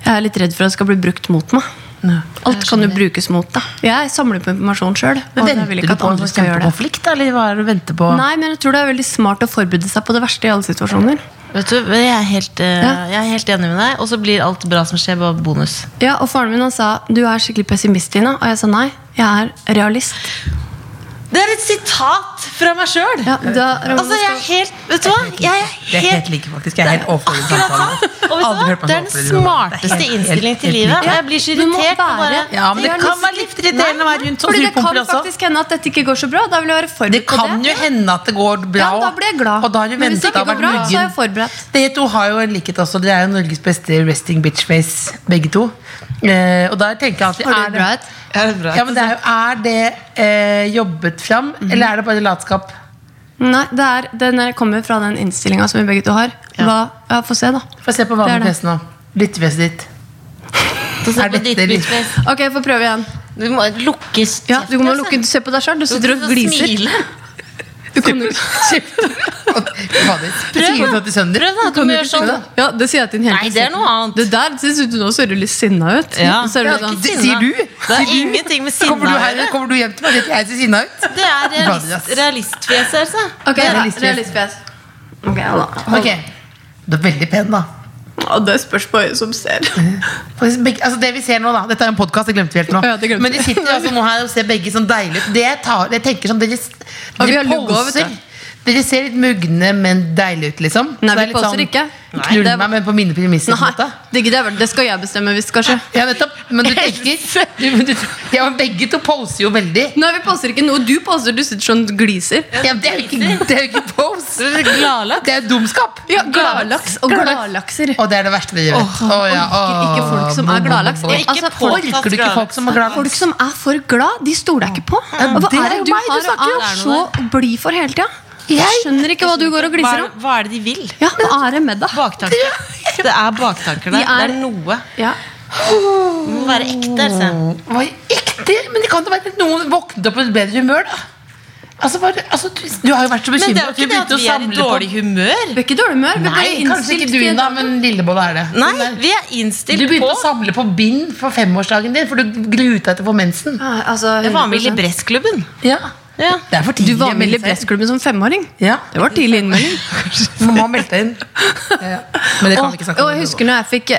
Jeg er litt redd for at det skal bli brukt mot meg. Alt kan jo brukes mot deg. Jeg samler på informasjon sjøl. Men Venter du på en sånn kjempekonflikt, da, eller hva er det du venter på? Nei, men jeg tror det er veldig smart å forberede seg på det verste i alle situasjoner. Vet du, jeg er, helt, eh, Ja. jeg er helt enig med deg, og så blir alt bra som skjer, bare bonus. Ja, og Faren min han sa du er skikkelig pessimist, Tina. Og jeg sa nei, jeg er realist. Det er et sitat fra meg sjøl! Ja, da, Altså, jeg er helt Vet du hva? Jeg er Det er helt helt like, faktisk. Jeg er helt overfor den Og samtalen. vet du hva? Aldri hørt meg Det er så den overfor den samtalen. Det er smarteste helt- helt- innstillingen til helt livet. like. Og jeg blir så Du må irritert. og være- bare- Ja, men det kan være litt irriterende å være rundt sånn Fordi det kan surpomper også. faktisk hende at dette ikke går så bra. Da vil jeg være Det forberedt på kan jo hende at det går bra. Ja, da blir jeg glad. Og da har du Men hvis det ventet ikke og vært går bra, så er jeg muggen. forberedt. Dere to har jo en likhet også. Dere er jo Norges beste resting bitch face, begge to. Eh, og der tenker jeg alltid Har du er bra et? Er det bra? Ja, men det er, jo, er det eh, jobbet fram, Mhm. eller er det bare latskap? Nei, det er, den er- kommer fra den innstillinga som vi begge to har. Hva, ja, Få se, da. Få se på Det er vanlig det. fest nå. Lyttefjeset ditt. Få se Er på dette ditt litt- bitchface. Ok, jeg får prøve igjen. Du må lukke kjeften. altså. Ja, Du må lukke, du ser på deg sjøl. Du sitter og gliser. Du kan jo ikke Prøv, da. Prøv da, du må gjøre sånn. Ja, det sier jeg til en hel Nei, det er noe annet. Det der synes du nå ser du litt sinna ut. Ja. Så er du Ja, sånn, ikke- Sier du? Det er ingenting med sinne Kommer du, å her, gjøre. kommer du hjem til meg og sier at jeg ser sinna ut? Det er Bare, realist, ass. realistfjeset, altså. Ok, Det er ja, realistfjes. realistfjes. Ok, ja da. Ok, Du er veldig pen, da. Ja, det spørs på øyet som ser. Faktisk, begge, altså det vi ser nå da Dette er en podkast, det glemte vi helt nå. Ja, det glemte Men de vi. sitter altså nå her og ser begge sånn deilige ut. Det jeg, tar, jeg tenker sånn Dere, Og vi dere har lugg også, poser. vet du. Dere ser litt mugne, men deilige ut, liksom. Så Nei, det er litt vi poser ikke. Nei, Knull det er- meg, men på mine premisser. på en Nei, måte. Sånn, det, gidder jeg vel. det skal jeg bestemme hvis det skal skje. Ja, nettopp. Men du tenker du, men du, Ja, men begge to poser jo veldig. Nei, vi poser ikke noe. Du poser, du sitter sånn og gliser. Ja, men det er jo ikke, det er jo ikke pose. Dere er Gladlakk. Det er jo dumskap. Ja, gladlaks og Gladlaks. gladlakser. Og det er det verste dere vet. Åh, Å, ja, orker ikke åh, folk som er bo, bo, bo, gladlaks. bo. Jeg- altså, podkast- Orker du ikke folk som er Folk gladlaks? som er for glad, de stoler jeg ikke på. Og hva det er er jo det du meg du har snakker av så blid for hele tida? Jeg skjønner ikke hva du går og Hva gliser er, om. hva er det de vil? Ja, hva er det med deg? Baktanker. Det er baktanker De der. er- Det er noe. Ja. Det må være ekte. Altså. Hva i ekte? Men det kan jo være at noen våknet opp i et bedre humør, da. Altså, bare, altså, du, du har jo vært så Men det er bekymra jo ikke det at vi er i dårlig humør. Vi er ikke i dårlig humør. Vi Nei, blir kanskje ikke innstilt du, til- da, men Lillebolla er det. Nei, Hun er- vi er Du innstilt begynte på å samle på bind for femårsdagen din, for du gruet deg til å få mensen. Nei, altså, Jeg var med i 100%. Libresklubben. Ja. Ja. Det er for tidlig. Du var med i å melde seg. Libresklubben som femåring. Ja. Det var tidlig innmelding. Mamma meldte inn. Ja, ja. Men det kan vi ikke snakke Og om. jeg husker, når jeg fikk,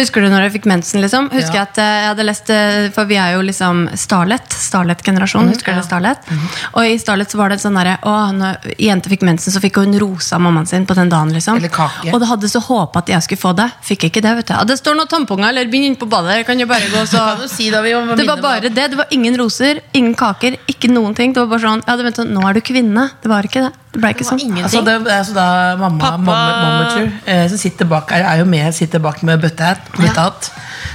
husker du når jeg fikk mensen, liksom? Husker Ja. jeg at eh, jeg hadde lest eh, For vi er jo liksom Starlet. Starlet-generasjon. Mhm. husker dere Starlet? Og i Starlet så var det en sånn derre Å, når jenter fikk mensen, så fikk hun rosa mammaen sin på den dagen, liksom. Eller kake. Og det hadde så håpa at jeg skulle få det. Fikk jeg ikke det, vet du. Ja, det står noe tamponger eller bind inn på badet. Dere Kan jo bare gå, så Kan du si da vi var Det var bare det. Det var ingen roser, ingen kaker, ikke noen ting. Det var bare sånn, ja, det, vent, nå er du kvinne. Det var ikke det. Det ble ikke sånn. Altså, det er altså da mamma, Pappa- mamma, mamma eh, som sitter bak her, er jo med, sitter bak med bøttehatt, bøttehatt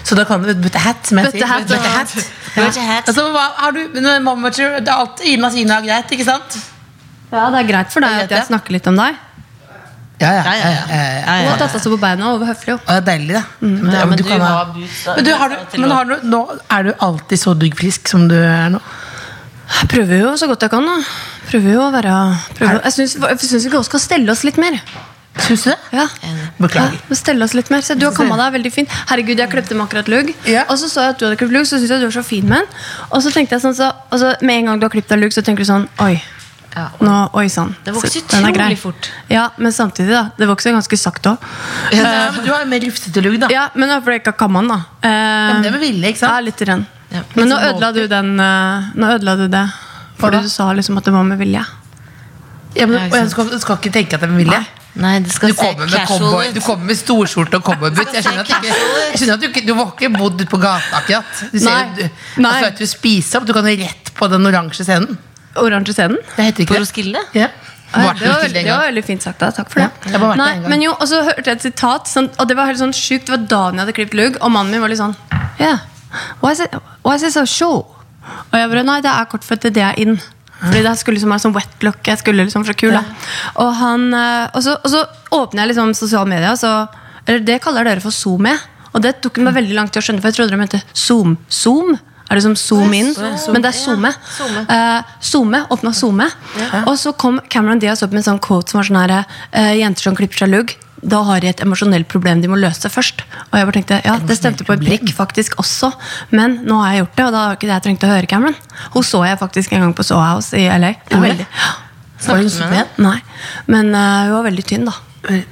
Så da kan du Bøtte hat, som jeg sier. Bøttehatt, Bøtte ja. hat. Bøtte Ja. hat. Altså, hva har du men Mamma tror det er alt i maskina er greit, ikke sant? Ja, det er greit for deg Jeg vet at jeg det. snakker litt om deg. Ja, ja. Ja, Eh, ja, ja. ja, Hun ja. har tatt seg på beina og var høflig. jo. Og det er deilig, da. Men, det- Ja, men du du kan var ha- boots, da. men du, har du, Boots er til men å- har du, nå er du alltid så duggfrisk som du er nå? Jeg prøver jo så godt jeg kan. da. Prøver jo å være prøver. Jeg syns jeg syns vi også skal stelle oss litt mer. Syns du det? Ja. Beklager. Ja, stelle oss litt mer. Se, du har kamma deg veldig fin. Herregud, jeg klepte meg akkurat lugg. Ja. Og så så jeg at du hadde klippet lugg, så syntes jeg du var så fin med den. Og så tenkte jeg sånn, så, og så med en gang du har klippet deg lugg, så tenker du sånn Oi. Ja. Nå, oi sann. Det vokser Så den er grei. utrolig fort. Ja, men samtidig, da. Det vokser ganske sakte òg. Ja, Eh, men du har jo mer rufsete lugg, da. Ja, men det er fordi jeg ikke har kamma den, da. Eh, men det er med vilje, ikke sant? Ja, litt ren. Ja. Men nå ødela du den eh, Nå ødela du det. Fordi da? du sa liksom at det var med vilje. Ja, men, Ja, og ikke jeg skal, skal ikke tenke at det er med vilje. Nei, det skal Du kommer med, cowboy, du kommer med storskjorte og cowboybutt. Jeg skjønner at, du ikke, jeg skjønner at du, ikke, du har ikke bodd ute på gata akkurat. Du ser, Nei. jo- du, Og Nei. så vet du spiser opp. Du kan jo rett på den oransje scenen. Oransje scenen? Det heter På ikke det. Roskilde? Ja. Ja, Varte Det var ikke til den veldig, det var gang. veldig fint sagt. da, Takk for Ja, jeg det. har bare vært der Nei, en gang. men jo, Og så hørte jeg et sitat, sånn, og det var helt sånn sjukt. Det var dagen jeg hadde klippet lugg, og mannen min var litt sånn yeah. why, is it, why is it so short? Og jeg bare Nei, det er kort for at det er in. Fordi det skulle liksom være sånn wet look. Jeg skulle liksom fra kul, da. Og, han, eh, og, så, og så åpner jeg liksom sosiale medier, og så Eller det kaller dere for zoom jeg. Og det tok Mm. meg veldig lang tid å skjønne, for jeg trodde de mente zoom. Zoom? Er det som zoom in? Men det er zoome. Eh, zoome, åpna zoome. Og så kom Cameron Diaz opp med en sånn quote som var sånn her eh, Jenter som klipper seg lugg, da har de et emosjonelt problem de må løse først. Og jeg bare tenkte, ja, det stemte på et blikk faktisk også, men nå har jeg gjort det, og da har ikke det jeg trengte å høre Cameron. Hun så jeg faktisk en gang på Soho House i LA. Hun var Oi. veldig, Var hun så pen? nei, men eh, hun var veldig tynn da.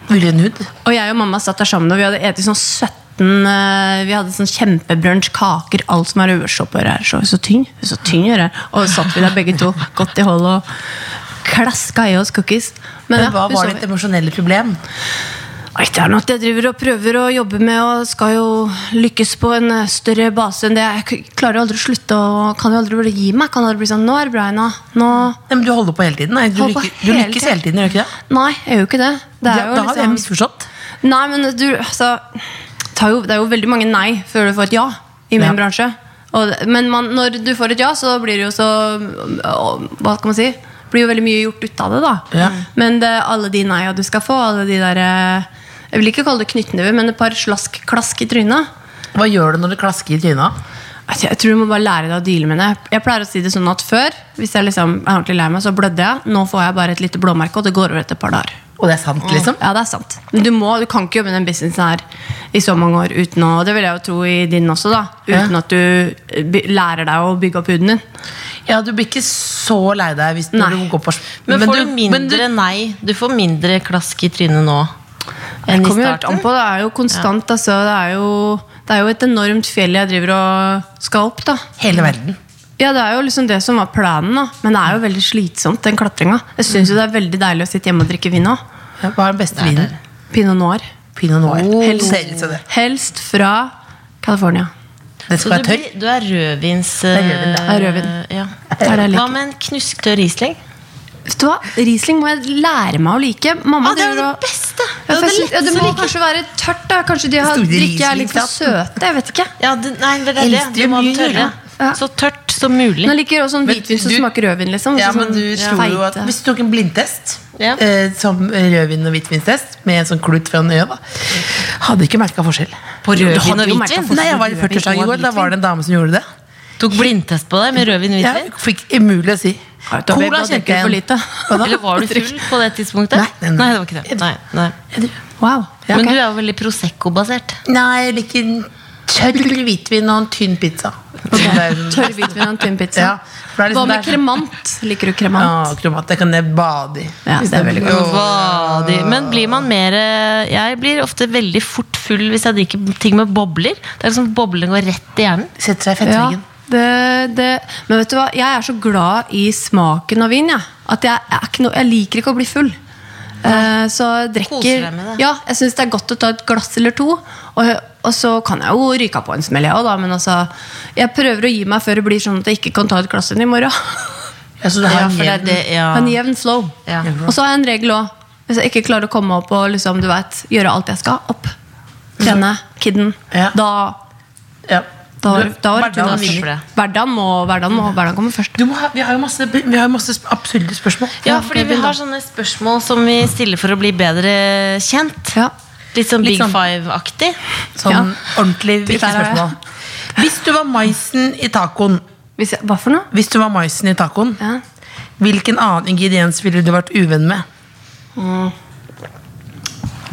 Ville hun hud? Og jeg og mamma satt der sammen, og vi hadde et sånn 17 eh, Vi hadde sånn kjempebrunsj, kaker, alt som er øversoppgjør her. Så, så tynn, så tynn gjør jeg. Og så satt vi der begge to, godt i hold, og klaska i oss cookies. Men ja, hva vi var så- ditt emosjonelle problem? Oi, det er noe at jeg driver og prøver å jobbe med og skal jo lykkes på en eh, større base enn det. Jeg k- klarer jo aldri å slutte og kan jo aldri bare gi meg. Kan aldri bli sånn, nå er det bra, Ina. Nå... Nei, men du holder på hele tiden. Nei, du, Holder på lykkes, du hele lykkes tiden. hele tiden, gjør du ikke det? Nei, jeg gjør jo ikke det. det er Ja, jo da liksom- har jeg misforstått. Nei, men du, altså ta jo, Det er jo veldig mange nei før du får et ja i min Ja. bransje. Og, det- men man, når du får et ja, så blir det jo så å, Hva skal man si? Blir jo veldig mye gjort ut av det, da. Ja. Men det, alle de nei-a du skal få, alle de der eh, Jeg vil ikke kalle det knyttneve, men et par slask, klask i trynet. Hva gjør du når det klasker i trynet? Altså, Jeg tror du må bare lære deg å deale med det. Jeg pleier å si det sånn at før, hvis jeg liksom er ordentlig lei meg, så blødde jeg. Nå får jeg bare et lite blåmerke, og det går over etter et par dager. Og det er sant, liksom? Ja, det er sant. Men du, må, du kan ikke jobbe med den businessen her i så mange år uten å Det vil jeg jo tro i din også, da. Uten Ja. at du eh, by lærer deg å bygge opp huden din. Ja, du blir ikke så lei deg hvis når Nei. du går på Men får du men du- mindre nei? Du får mindre klask i trynet nå enn Det i kommer jo helt an starten? på. Det er jo konstant, altså. Det er jo, det er jo et enormt fjell jeg driver og skal opp, da. Hele verden. Ja, det er jo liksom det som var planen, da. Men det er jo veldig slitsomt, den klatringa. Jeg syns jo det er veldig deilig å sitte hjemme og drikke vin òg. Ja, Hva er den beste vinen? Pinot noir. Pinot noir. Oh. Helst selv, så det. Helst fra California. Den Så skal du, være tørr. blir, du er rødvins... eh, er rødvin, det er rødvin. Ja. Det er det jeg liker. Hva med en knusktørr Riesling? Vet du hva? Riesling må jeg lære meg å like. Mamma Ah, det er jo driver det beste. Det Ja, er for det jeg- ja, det letteste må å like. kanskje være tørt. da Kanskje de har Store drikker er litt for Riesling-flaten. søte. Jeg vet ikke. Ja, det, nei, det er det. Elsker Du må ha mye, tørre. ja. Så tørt som mulig. Men jeg liker også sånn Men hvitvin som du- smaker rødvin. liksom Ja, Også men sånn du ja, tror jo at feite. Hvis du tok en blindtest Ja. eh, som rødvin- og hvitvinstest med en sånn klut fra øya, da hadde ikke merka forskjell. På Du hadde rødvin og jo merket hvitvin? forskjell. Nei, jeg var i 40-årsdag i går. Da var det en dame som gjorde det. Tok blindtest på deg med rødvin og Jeg hvitvin? fikk umulig å si. Ja, da ble- da drikker du for lite. Hva da? Eller var du full på det tidspunktet? Nei, nei, nei. det var ikke det. Nei, nei. Wow. Men ok. du er jo veldig Prosecco-basert. Nei, jeg liker en tørr hvitvin og en tynn pizza. Tørr hvitvin og en tynn pizza. Ja, for det er liksom Hva med der- kremant? Liker du kremant? Ja, kromat, det kan jeg bade i. Ja, det er veldig godt. Åh. Vadig. Men blir man mer eh, Jeg blir ofte veldig fort full hvis jeg drikker ting med bobler. Det er liksom Boblene går rett i hjernen. Setter seg i fettveggen. det, det, men vet du hva, jeg er så glad i smaken av vin. Jeg, at jeg, er ikke noe- jeg liker ikke å bli full. Eh, så jeg Koser drikker deg med det. Ja, jeg syns det er godt å ta et glass eller to. Og, og så kan jeg jo ryke av på en smell, jeg òg, da. Men altså, jeg prøver å gi meg før det blir sånn at jeg ikke kan ta et glass igjen i morgen. Ja, så du har Ja, en for det er jevn- det, Eh, ja. En jevn flow. Ja. Og så har jeg en regel òg. Hvis jeg ikke klarer å komme Mm. opp og liksom, du vet, gjøre alt jeg skal, opp. Trene, kidden. Ja. Da Ja. Da var, da var Hverdagen Tuna vinner. først. Hverdagen må, hverdagen må, hverdagen kommer først. Du må ha, vi har jo masse, vi har jo masse sp- absurde spørsmål. Ja, fordi vi har sånne spørsmål som vi stiller for å bli bedre kjent. Ja. Litt sånn Litt Big sånn- Five-aktig. Sånn Ja. ordentlig viktige der er jeg. spørsmål. Hvis du var maisen i tacoen, Hvis jeg, hva for noe? hvis du var maisen i tacoen Ja. hvilken annen ingrediens ville du vært uvenn med?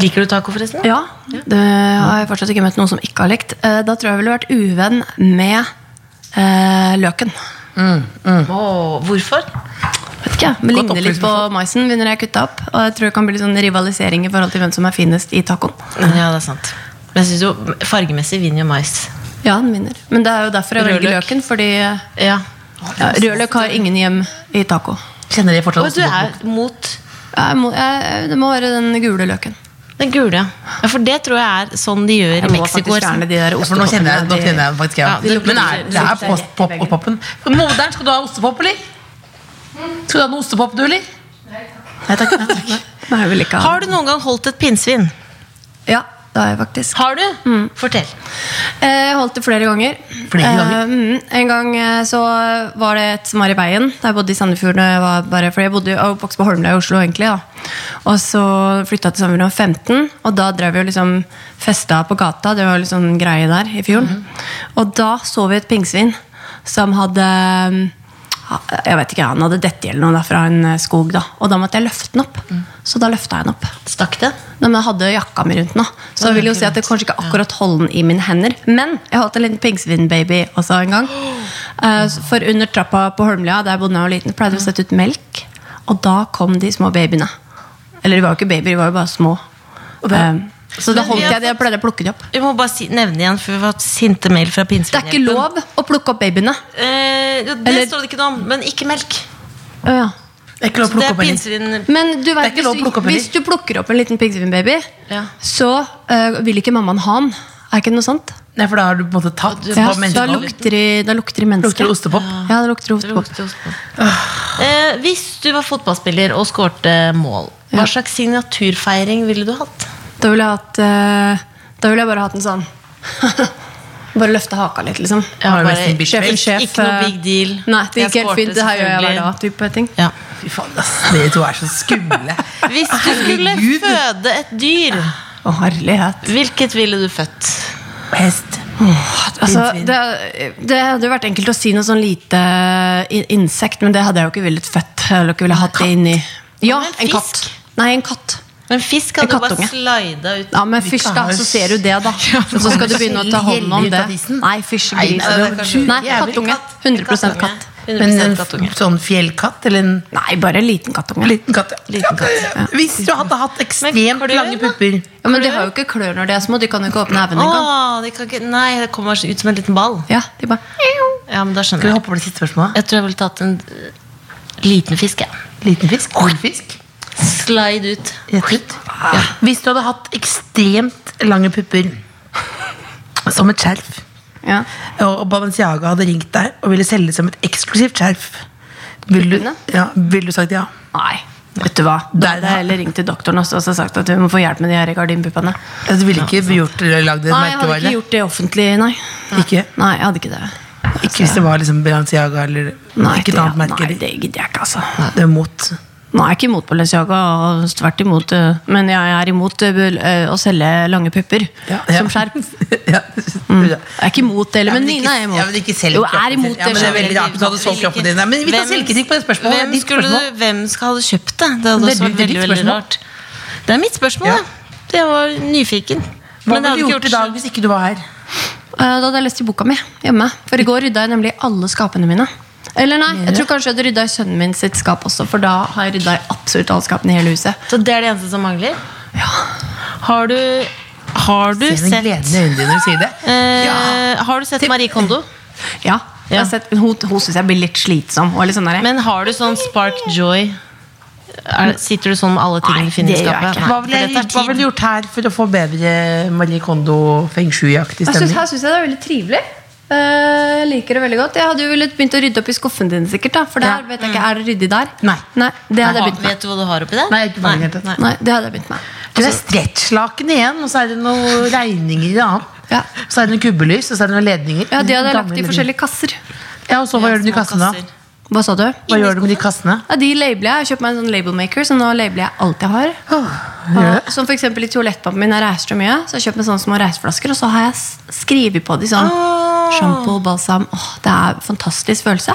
Liker du taco, forresten? Ja, det har jeg fortsatt ikke møtt noen som ikke har likt. Eh, Da tror jeg jeg ville vært uvenn med eh, løken. Åh, hvorfor? Vet ikke, men Godt Ligner litt på maisen når jeg kutta opp. Og jeg tror det kan bli litt sånn rivalisering i forhold til hvem som er finest i tacoen. Ja, det er sant. Men jeg synes jo, fargemessig vinner jo mais. Ja, den vinner. Men det er jo derfor jeg Rødløk. velger løken, fordi eh, Ja. ja, rødløk har ingen hjem i taco. Kjenner dere Og fortsatt du er mot Jeg må, jeg, det må være den gule løken. den gule, ja. ja. For det tror jeg er sånn de gjør i Jeg må Mexico. faktisk fjerne de der Ja, for nå kjenner jeg, nå ostepoppene, de- kjenner jeg faktisk Ja, jeg. de lukter- Men er, det er post-pop og poppen. Moderen, skal du ha ostepop, eller? Skal du ha noe ostepop, du, eller? Nei takk. Nei, takk. Nei, jeg vil ikke ha Har du noen gang holdt et pinnsvin? Ja, det har jeg faktisk. Har du? Mm. Fortell. Eh, Jeg holdt det flere ganger. Flere ganger? Eh, mm, en gang eh, så var det et som var i veien. Da jeg bodde i Sandefjord. når Jeg var bare, fordi jeg bodde og vokste på Holmlia i Oslo, egentlig. da. Og så flytta jeg til Sandefjord da jeg var 15, og da drev vi og liksom festa på gata. Det var jo liksom en greie der i fjorden. Mhm. Og da så vi et pingsvin som hadde mm, ha- jeg vet ikke, Han hadde dette eller noe da, fra en eh, skog, da. og da måtte jeg løfte den opp. Så da løfta jeg den opp. Mm. Stakk det? Nei, men jeg hadde jakka mi rundt den, da. Så jeg vil jo si at jeg kanskje ikke akkurat holder den i mine hender. Men jeg holdt en liten pingsvinbaby også en gang. Eh, For under trappa på Holmlia, der jeg bodde da jeg var liten, pleide Mm. vi å sette ut melk. Og da kom de små babyene. Eller de var jo ikke babyer, de var jo bare små. Eh, Så da Men vi holdt har jeg det og pleide å plukke dem opp. Vi må bare si, nevne igjen, for vi har fått sinte mail fra Det er ikke pinnsvinhjelpen. lov å plukke opp babyene. Eh, det Eller- står det ikke noe om, men ikke melk. Å, ja. Det er ikke lov å Det plukke er opp en pinnsvin Men du vet, ikke hvis, lov å du- plukke opp hvis du plukker opp en liten pingvinbaby, Ja. så eh, vil ikke mammaen ha den. Er ikke det noe sånt? Nei, for da har du på en måte tatt Ja, på da menneskehold. lukter de, da lukter de menneske. Lukter det ostepop? Ja, det lukter ostepop. Eh, hvis du var fotballspiller og skårte mål, hva Ja. slags signaturfeiring ville du hatt? Da ville jeg hatt eh, Da ville jeg bare hatt en sånn Bare løfte haka litt, liksom. Ja, Har du bare- nesten bitch Sjefen, face? sjef. Ikke noe eh, big deal. Nei, det Jeg gikk helt skårte, fint. Det her gjør jeg hver selvfølgelig. dag. Type ting. Ja. Fy faen, ass. Dere to er så skumle. Hvis du skulle Herregud. føde et dyr, Å, herlighet. hvilket ville du født? Hest. Altså, Pinnsvin. det, det hadde jo vært enkelt å si noe sånn lite i- insekt, men det hadde jeg jo ikke villet født. Jeg hadde jo ikke villet hatt det inni Ja, men en fisk? katt. Nei, en katt. En fisk En hadde jo bare kattunge. slida ut. Ja, men fysj, da. kan jo Så ser du det, da. Og så skal du begynne å ta hånd Gjelde om ut det. av isen. Nei, fysj, Nei, gris. nei, det er kanskje- Nei, Jævlig kattunge. Katt. 100 katt. Men 100% en kattunge. f- sånn fjellkatt eller en Nei, bare en liten kattunge. liten katt? ja. Liten katt, Hvis du hadde hatt Men ekstremt klør, lange da? pupper Ja, men de har jo ikke klør når de er små. De kan jo ikke åpne neven engang. Åh, det kan ikke, nei, det kommer ut som en liten ball. Ja, de bare Ja, men da skjønner Skal vi jeg. hoppe over det siste spørsmålet? Jeg tror jeg ville tatt en eh, liten fisk. jeg. Liten fisk? Stor fisk? Slide ut. Rett ut? Ja. Hvis du hadde hatt ekstremt lange pupper som et skjerf, ja. og Balenciaga hadde ringt deg og ville selge det som et eksklusivt skjerf, ville du, Puppene? ja, vil du sagt ja? Nei, vet du hva. Der, Da hadde jeg heller ringt til doktoren også, og så sagt at vi må få hjelp med de her gardinpuppene. Altså, Du ville ikke gjort eller lagd et Nei, jeg hadde ikke merkevare? gjort det offentlig, nei. Ikke? Nei, jeg hadde ikke det. altså. Ikke hvis det var liksom Balenciaga eller Nei, ikke et det, annet merke? nei, eller- det gidder jeg ikke, altså. Det er mot. Nå er jeg ikke imot Balenciaga, og tvert imot, eh, men jeg er imot eh, bul- eh, å selge lange pupper som skjerp. ja. Jeg er ikke imot det, Ja, eller, men men ikke- Nina er imot. ja, men ikke selg jo, kroppen er sin. imot Ja, men det er veldig rart hvis du hadde solgt Vil ikke- kroppen din. Nei, men vi tar Hvem- selvkritikk på det spørsmålet. Hvem, Ditt skulle spørsmål. Du, hvem skal hadde kjøpt det? Det hadde Veldig også vært ditt veldig, veldig, spørsmål. rart. Det er mitt spørsmål, Ja. ja. Det var nyfiken. Hva jeg ville du hadde gjort ikke i dag hvis ikke du var her? Eh, Da hadde jeg lest i boka mi hjemme. For i går rydda jeg nemlig alle skapene mine. Eller nei, jeg tror kanskje jeg hadde rydda i sønnen min sitt skap også, for da har jeg rydda i absolutt alle skapene i hele huset. Så det er det eneste som mangler? Har du, har du Ser den sett gleden i øynene dine når du sier det? eh, Ja. Har du sett Marie Kondo? Ja, jeg har sett, Hun, hun syns jeg blir litt slitsom. Og litt sånn der, Men har du sånn spark joy? Er, sitter du sånn med alle tingene Nei, du finner i det gjør jeg skapet? ikke. Nei, Hva for ville jeg dette er gjort- hva ville du tid. gjort her for å få bedre Marie Kondo feng shui-aktig Jeg synes, stemning? her syns jeg det er veldig trivelig. Eh, Jeg liker det veldig godt. Jeg hadde jo villet begynt å rydde opp i skuffen din, sikkert. da For der Ja. vet jeg ikke, er det ryddig der? Nei. det Hva- hadde jeg begynt med. Vet du hva du har oppi der? Nei, ikke bare helt. Nei. Nei, det hadde jeg begynt med. Du er stretchlaken igjen, og så er det noen regninger i det annet. Ja. Så er det noen kubbelys, og så er det noen ledninger. Ja, De hadde Gamle lagt i ledninger. forskjellige kasser. Ja, og så hva gjør du med de Små kassene? da? kasser. Hva sa du? Hva gjør du med de kassene? Ja, de labeler jeg. Jeg har kjøpt meg en sånn labelmaker, så nå labeler jeg alt jeg har. Ah, Ja, som for eksempel i toalettpappen min har reist så mye, så jeg har kjøpt meg sånne små reiseflasker, og så har jeg s- skrevet på de sånn Ah. Shampoo, balsam Åh, Det er en fantastisk følelse.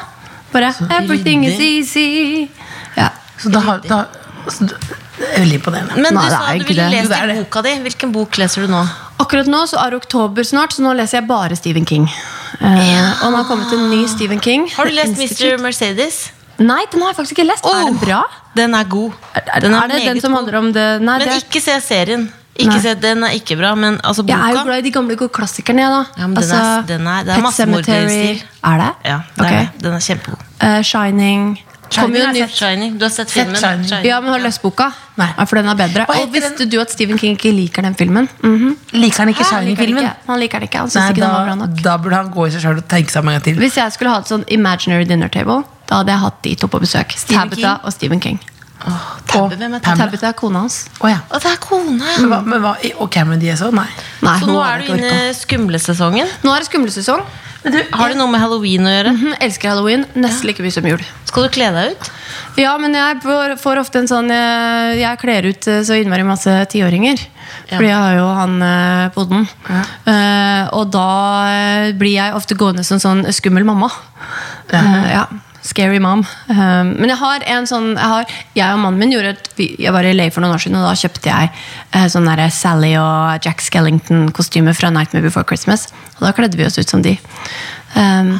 Bare Everything is easy. Ja. Så da, har- da, så du- det er veldig imponerende. Men Nei, du det sa er du ikke ville det. lest Det er i det. boka di. Hvilken bok leser du nå? Akkurat nå så er det oktober snart, så nå leser jeg bare Stephen King. Eh, og nå har det kommet en ny Stephen King. Ah. Har du lest Institute. Mr. Mercedes? Nei, den har jeg faktisk ikke lest. Er den Åh, bra? Den er god. Er, er, er det den meget som god. handler om det Nei, det Men er ikke se serien. Ikke Nei. se, den er ikke bra, men altså boka Jeg er jo glad i de gamle gode klassikerne. jeg, da. Altså, Ja, men den er- den er- det er Pet massemorderstil. Sematary. Er det? Ja, det Ok. er, det. den er kjempegod. Eh, Shining. Kom jo har jeg nytt. Shining. Du har sett Sett filmen? Shining. Ja, men Har du lest boka? Nei. Ja, for den er bedre. Hva heter Og Visste du at Stephen King ikke liker den filmen? Mhm. Liker han ikke Han liker den Shining-filmen? ikke. Han liker den ikke. Han synes Nei, ikke den var bra da, nok. da burde han gå i seg sjøl og tenke seg om en gang til. Hvis jeg skulle hatt sånn imaginary dinner table, da hadde jeg hatt de to på besøk. Stephen Tabitha King. og Stephen King. Og Hvem er Pamela. Tabitha er kona hans. Å, ja. Å, det er kona! Men hva- Men hva, og Cameron Diaz òg? Nei. Nei, Så hun nå har er ikke du orket. inne i skumlesesongen. Nå er det skummelsesong. Har det noe med halloween å gjøre? Mhm, Elsker halloween. Nesten like mye som jul. Skal du kle deg ut? Ja, men jeg får, får ofte en sånn eh, Jeg kler ut eh, så innmari masse tiåringer. Fordi jeg har jo han eh, podden. Eh, og da eh, blir jeg ofte gående som sånn skummel mamma. Eh, ja. Scary mom. Eh, men jeg har en sånn Jeg, har, jeg og mannen min gjorde et vi- Jeg var i LA for noen år siden, og da kjøpte jeg eh, sånn derre Sally og Jack Skellington-kostyme fra Nightmare Before Christmas. Og da kledde vi oss ut som de. Eh,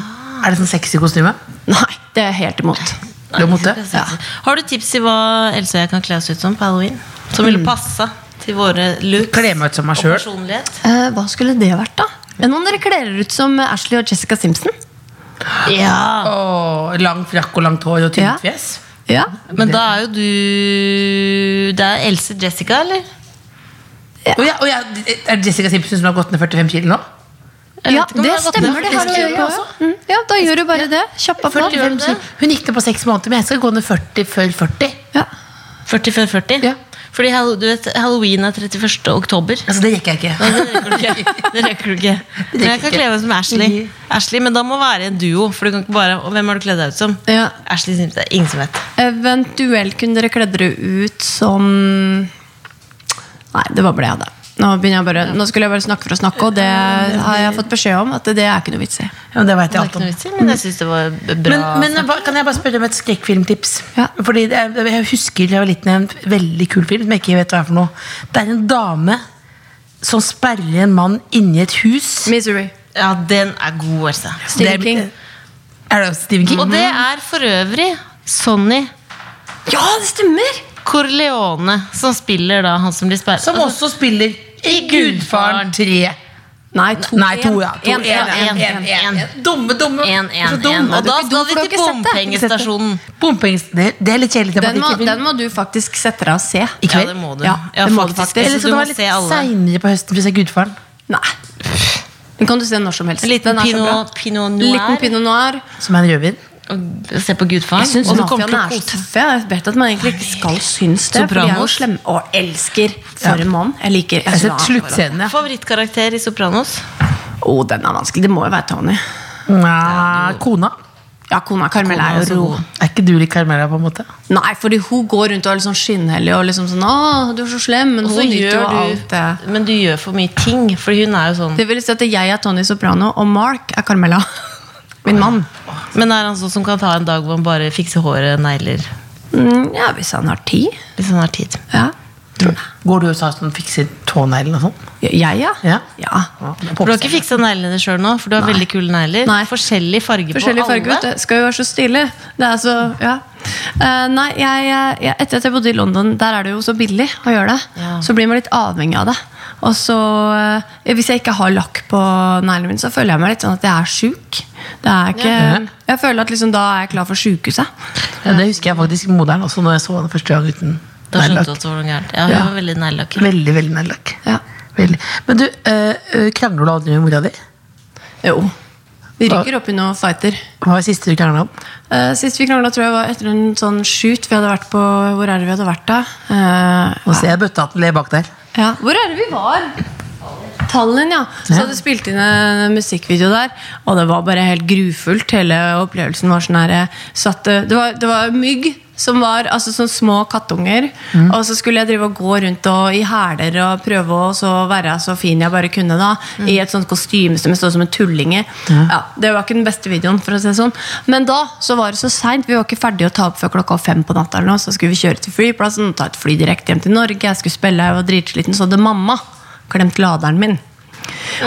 Er det sånn sexy kostyme? nei, det er jeg helt imot. Du er mot det? Ja. Har du tips til hva Else og jeg kan kle oss ut som på halloween? Som Mm. ville passa til våre looks Kle meg ut som meg og selv. personlighet? Eh, hva skulle det vært, da? Er det Noen dere kler ut som Ashley og Jessica Simpson? Ja. Og lang frakk og langt hår og Ja. tynt fjes? Ja. Men da er jo du Det er Else Jessica, eller? Og ja, og ja, er det Jessica Simpson som har gått ned 45 kilo nå? Jeg vet ikke om det jeg har gått stemmer. ned det 45 har du kilo gjort. Mm, ja, da gjør du bare det. Kjappa på. 45 kilo. Hun gikk ned på seks måneder, men jeg skal gå ned 40 før 40. Ja. 40 før 40? Ja. Fordi hall- du vet, halloween er 31. oktober. Altså, det rekker jeg Det rekker ikke. du ikke. Det rekker du ikke. Men jeg kan ikke. kle meg som Ashley. Ashley, Men da må være en duo. For du kan ikke bare, og hvem har du kledd deg ut som? Ja. Ashley Simpson. Ingen som vet. Eventuelt kunne dere kledd dere ut som Nei, det var bare det jeg hadde. Nå, begynner jeg bare, nå skulle jeg bare snakke for å snakke, og det har jeg fått beskjed om at det er ikke noe vits i. Ja, men det vet Det jeg er alt ikke om. noe vits i, altså. men jeg syns det var b- bra. Men, men hva- kan jeg bare spørre om et skrekkfilmtips? Ja. Fordi det er- jeg husker jeg var liten en veldig kul film som jeg ikke vet hva er for noe. Det er en dame som sperrer en mann inni et hus. Misery. ja, den er god, Else. Stephen King. Er det Stephen King? Og det Mm. er for øvrig Sonny Ja, det stemmer! Corleone som spiller da han som blir sperret. Som også spiller i Gudfaren 3. Nei, to. Nei, to, en. ja. To, En, en, en, en, en, en, en. Dumme, dumme. En, en, Så dum. en. Og da ikke skal dum, vi for du har til ikke sett det. bompengestasjonen. Bompenges- det, det er litt kjedelig Den, må, tematikk. i film. den må du faktisk sette deg og se. I Ja, kveld? det må du. Ja, det må du faktisk. faktisk. Eller Ellers skal du det må være se litt alle. seinere på høsten for å se Gudfaren? Nei. Den kan du se når som helst. En liten Den er så bra. pinot, pinot noir. Liten pinot noir. Som er en rødvin? Og se på Gudfaren. Jeg syns og du kommer mafiaen til å er så kose deg. tøffe. Jeg vet at man egentlig ikke skal synes det. For de er jo Sopranos. slemme og elsker for en mann. Jeg liker Jeg har synes sett det er- sluttscenen, ja. Favorittkarakter i Sopranos? Å, den er vanskelig. Det må jo være Tony. Nei, kona. Ja, kona Carmel er er så jo rå. god. Er ikke du litt Carmela, på en måte? Nei, fordi hun går rundt og er litt sånn skinnhellig og liksom sånn Å, du er så slem, men Og så hun nyter jo gjør alt det. du Men du gjør for mye ting, for hun er jo sånn. Det vil si at jeg er Tony Soprano, og Mark er Carmela. Min mann. Men er han sånn som kan ta en dag hvor han bare fikser håret, negler Mm, Ja, hvis han har tid. Hvis han har tid. Ja. Går du og sa at hun fikser tåneglene og sånn? Jeg, ja. Ja. ja. For du har ikke fiksa neglene dine sjøl nå, for du har veldig kule negler. Nei. Forskjellig farge Forskjellige på alle. farger, vet du. Skal jo være så stilig. Det er så, ja. Eh, nei, jeg, jeg, etter at jeg bodde i London, der er det jo så billig å gjøre det. Ja. Så blir man litt avhengig av det. Og så, eh, hvis jeg ikke har lakk på neglene mine, så føler jeg meg litt sånn at jeg er sjuk. Det er ikke, jeg føler at liksom, da er jeg klar for sjukehuset. Ja, det husker jeg faktisk moderen også når jeg så henne første gang uten Da skjønte du neglelakk. at det var noe gærent. Ja, hun Ja. var veldig neglelakk. Veldig, veldig neglelakk. Ja. Veldig. Men du, øh, øh, krangler du aldri med mora di? Jo. Vi rykker opp i noen fighter. Hva var det siste du krangla om? Eh, sist vi krangla, tror jeg var etter en sånn shoot vi hadde vært på. Hvor er det vi hadde vært da? Eh, Nå ser jeg bøttehatten le bak der. ja. Hvor er det vi var? Tallinn, ja. Så Ja. hadde jeg spilt inn en musikkvideo der, og det var bare helt grufullt. Hele opplevelsen var sånn her eh, satt, eh, det, var, det var mygg som var altså sånn små kattunger. Og så skulle jeg drive og gå rundt og i hæler og prøve å så være så fin jeg bare kunne. da I et sånt kostyme som jeg stod som en tulling i. Ja. det var ikke den beste videoen. for å si det sånn Men da så var det så seint. Vi var ikke ferdige å ta opp før klokka fem på natta. eller noe Så skulle vi kjøre til flyplassen, ta et fly direkte hjem til Norge. Jeg skulle spille, jeg var dritsliten. Så hadde mamma glemt laderen min.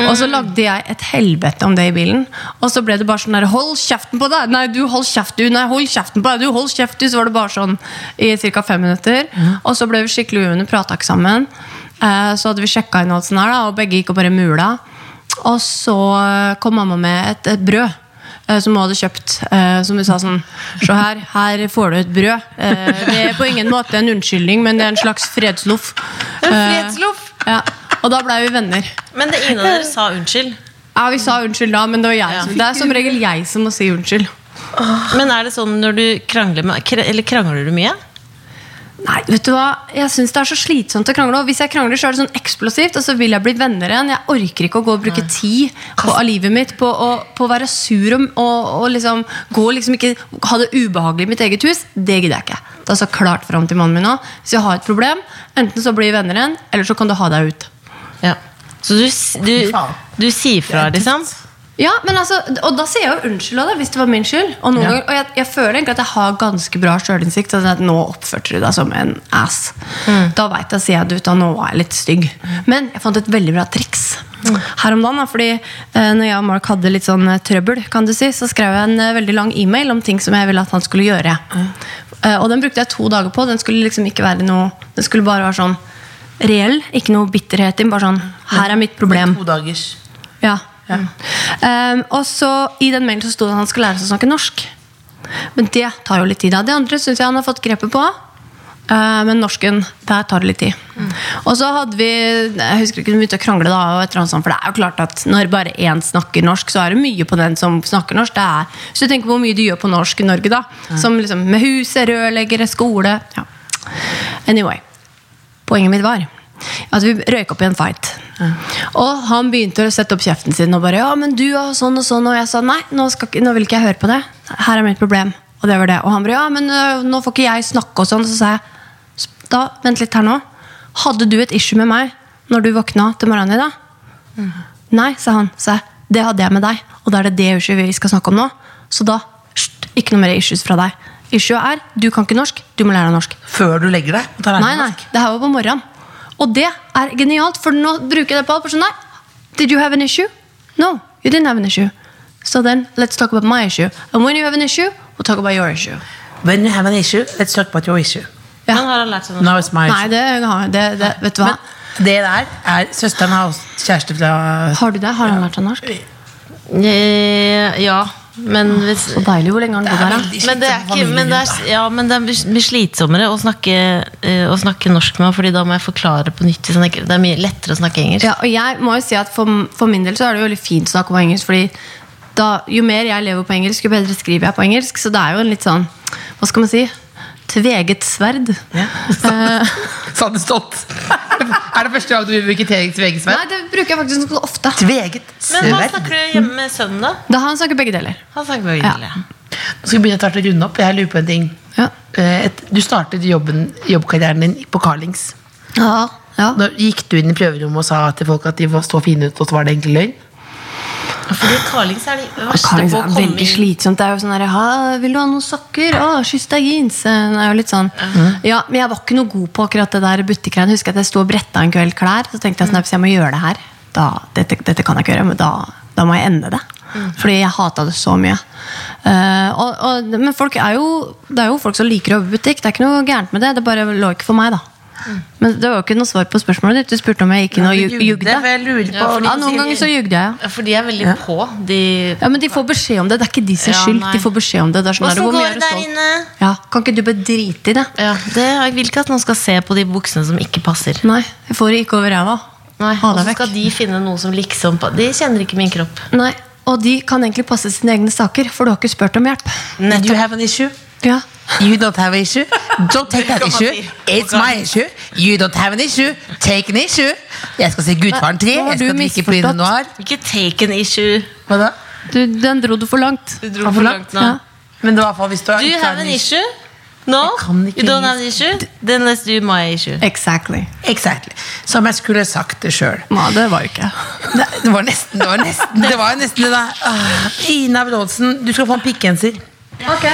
Og så lagde jeg et helvete om det i bilen. Og så ble det bare sånn der Hold kjeften på deg! Nei, du, hold kjeft, du! Nei, hold kjeften på deg! Du, hold kjeft, du! Så var det bare sånn i ca. fem minutter. Og så ble vi skikkelig uvenner, prata ikke sammen. Eh, Så hadde vi sjekka inn alt sånn her, da, og begge gikk og bare mula. Og så eh, kom mamma med et, et brød. eh, Som hun hadde kjøpt. eh, Som hun sa sånn Se her, her får du et brød. Eh, Det er på ingen måte en unnskyldning, men det er en slags fredsloff. Eh, Fredsloff! ja. Og da blei vi venner. Men det ingen av dere sa unnskyld. Ja, vi sa unnskyld da, men det, var jeg, som- det er som regel jeg som må si unnskyld. Men er det sånn når du krangler med kr- Eller krangler du mye? Nei, vet du hva? Jeg syns det er så slitsomt å krangle. Og hvis jeg krangler, så er det sånn eksplosivt, og så vil jeg bli venner igjen. Jeg orker ikke å gå og bruke tid på av livet mitt på å, på å være sur og, og, og liksom gå og liksom ikke ha det ubehagelig i mitt eget hus. Det gidder jeg ikke. Det er så klart fram til mannen min nå. Hvis jeg har et problem, enten så blir vi venner igjen, eller så kan du ha deg ut. Ja. Så du, s- du, faen. du sier fra, liksom? Ja, men altså, Og da sier jeg jo unnskyld også, da, hvis det var min skyld. Og, noen ganger, og jeg, jeg føler egentlig at jeg har ganske bra sjølinnsikt. Sånn at nå oppførte du deg som en ass. Da vet jeg, sier jeg at da nå var jeg litt stygg. Men jeg fant et veldig bra triks her om dagen. Da, fordi eh, når jeg og Mark hadde litt sånn eh, trøbbel, kan du si, så skrev jeg en eh, veldig lang e-mail om ting som jeg ville at han skulle gjøre. Eh, og den brukte jeg to dager på. Den skulle liksom ikke være noe Den skulle bare være sånn reell. Ikke noe bitterhet i den. Bare sånn Her er mitt problem. To dagers. Ja. Um, og så I den mailen så sto det at han skal lære seg å snakke norsk. Men det tar jo litt tid. Da. Det andre syns jeg han har fått grepet på. Uh, men norsken, der tar det litt tid. Og så hadde vi jeg husker ikke, vi begynte å krangle, da, og et eller annet sånt, for det er jo klart at når bare én snakker norsk, så er det mye på den som snakker norsk. Det er, så tenk på hvor mye du gjør på norsk i Norge, da. Som liksom med huset, rørleggere, skole. Ja. Anyway poenget mitt var at vi røyk opp i en fight. Og han begynte å sette opp kjeften sin og bare ja, men du og sånn og sånn. Og jeg sa nei, nå, skal, ikke- nå vil ikke jeg høre på det. Her er mitt problem. Og det var det. Og han bare ja, men ø, nå får ikke jeg snakke og sånn. Så sa jeg «Sp- da, vent litt her nå. Hadde du et issue med meg når du våkna til morgenen i dag? Nei, sa han. Sa jeg. Det hadde jeg med deg, og da er det det issue vi skal snakke om nå. Så da, sht, ikke noe mer issues fra deg. Issue er du kan ikke norsk, du må lære deg norsk. Før du legger deg? og tar Nei, nei, regnet. det her var på morgenen. Og det er genialt, for nå bruker jeg det på alt. for sånn, Nei, did you have an issue? No, you didn't have an issue. So then, let's talk about my issue. And when you have an issue, we'll talk about your issue. When you have an issue, let's talk about your issue. Ja. Men har han lært seg noe? Now it's my Nei, issue. det, det, det vet du hva. Det der er Søsteren har også kjæreste fra Har du det? Har han lært seg norsk? Eh, Ja, men hvis Så deilig. Hvor lenge har han bodd her? da? men det, er ikke, men, det er, ja, men det blir slitsommere å snakke, eh, å snakke norsk med ham, Fordi da må jeg forklare på nytt. Sånn, at det er mye lettere å snakke engelsk. Ja, og jeg må jo si at for, for min del så er det jo veldig fint å snakke på engelsk, fordi da, jo mer jeg lever på engelsk, jo bedre skriver jeg på engelsk. Så det er jo en litt sånn, hva skal man si, tveget sverd. Eh, Sa det stolt. er det første gang du bruker nei, kvitteringsvegsverd? det bruker jeg faktisk ganske ofte. Tveget Men hva sverd. snakker du hjemme med sønnen, da? Da han snakker begge deler. Han snakker med Ja. Wilhelm. Nå skal vi begynne snart å runde opp. Jeg lurer på en ting. Ja. Eh, Et, du startet jobben, jobbkarrieren din på Carlings. Ja. Da gikk du inn i prøverommet og sa til folk at de var- så fine ut, og så var det egentlig løgn? Fordi Carlings er de verste Karling, på det å er komme veldig inn. slitsomt. Det er jo sånn der, «Ha, 'Vil du ha noen sokker?' 'Å, kyss deg jeans.' Det er jo litt sånn. Ja, Men jeg var ikke noe god på akkurat det der butikkgreiene. Husker at jeg sto og bretta en kveld klær, så tenkte jeg sånn, hvis jeg må gjøre det her, da, dette, dette kan jeg ikke gjøre, men da, da må jeg ende det. Fordi jeg hata det så mye. Eh, og, og, men folk er jo, det er jo folk som liker å jobbe i butikk. Det er ikke noe gærent med det. Det bare lå ikke for meg, da. Men det var jo ikke noe svar på spørsmålet ditt. Mm. Du spurte om jeg gikk inn og Ja, ju- du ljugde, jugde. for jeg lurer på- Ja, fordi- ja, noen ganger så jugde jeg, ja. For de er veldig på. De Ja, men de får beskjed om det. Det er ikke de sin Ja, skyld. nei. De får beskjed om det. det er sånn, Åssen der, hvor mye går det er du der stolt? inne? Ja, kan ikke du bare drite i det? Ja, det, jeg vil ikke at noen skal se på de buksene som ikke passer. Nei, jeg får det ikke over ræva. Nei, Ha Og deg så vekk. skal de finne noe som liksom pa- De kjenner ikke min kropp. Nei, og de kan egentlig passe sine egne saker, for du har ikke spurt om hjelp. You have an issue. Ja. You don't have an issue. Don't take that issue. It's my issue. You don't have an issue. Take an issue. Jeg skal se Gudfaren 3. Nå har Jeg du skal drikke Pinot misforstått. Noir. Ikke take an issue. Hva da? Du, den dro du for langt. Du dro for langt nå. Ja. Men det var i hvert fall hvis du har Do you ikke har have an issue? No? kan ikke You don't engelsk. have an issue? Then let's do my issue. Exactly. Exactly. Som jeg skulle sagt det sjøl. Nei, det var jo ikke. Nei, Det var nesten det. var nesten Det var jo nesten det, da. Ah, Ina Brådsen, du skal få en pikkgenser. Ok, Eh,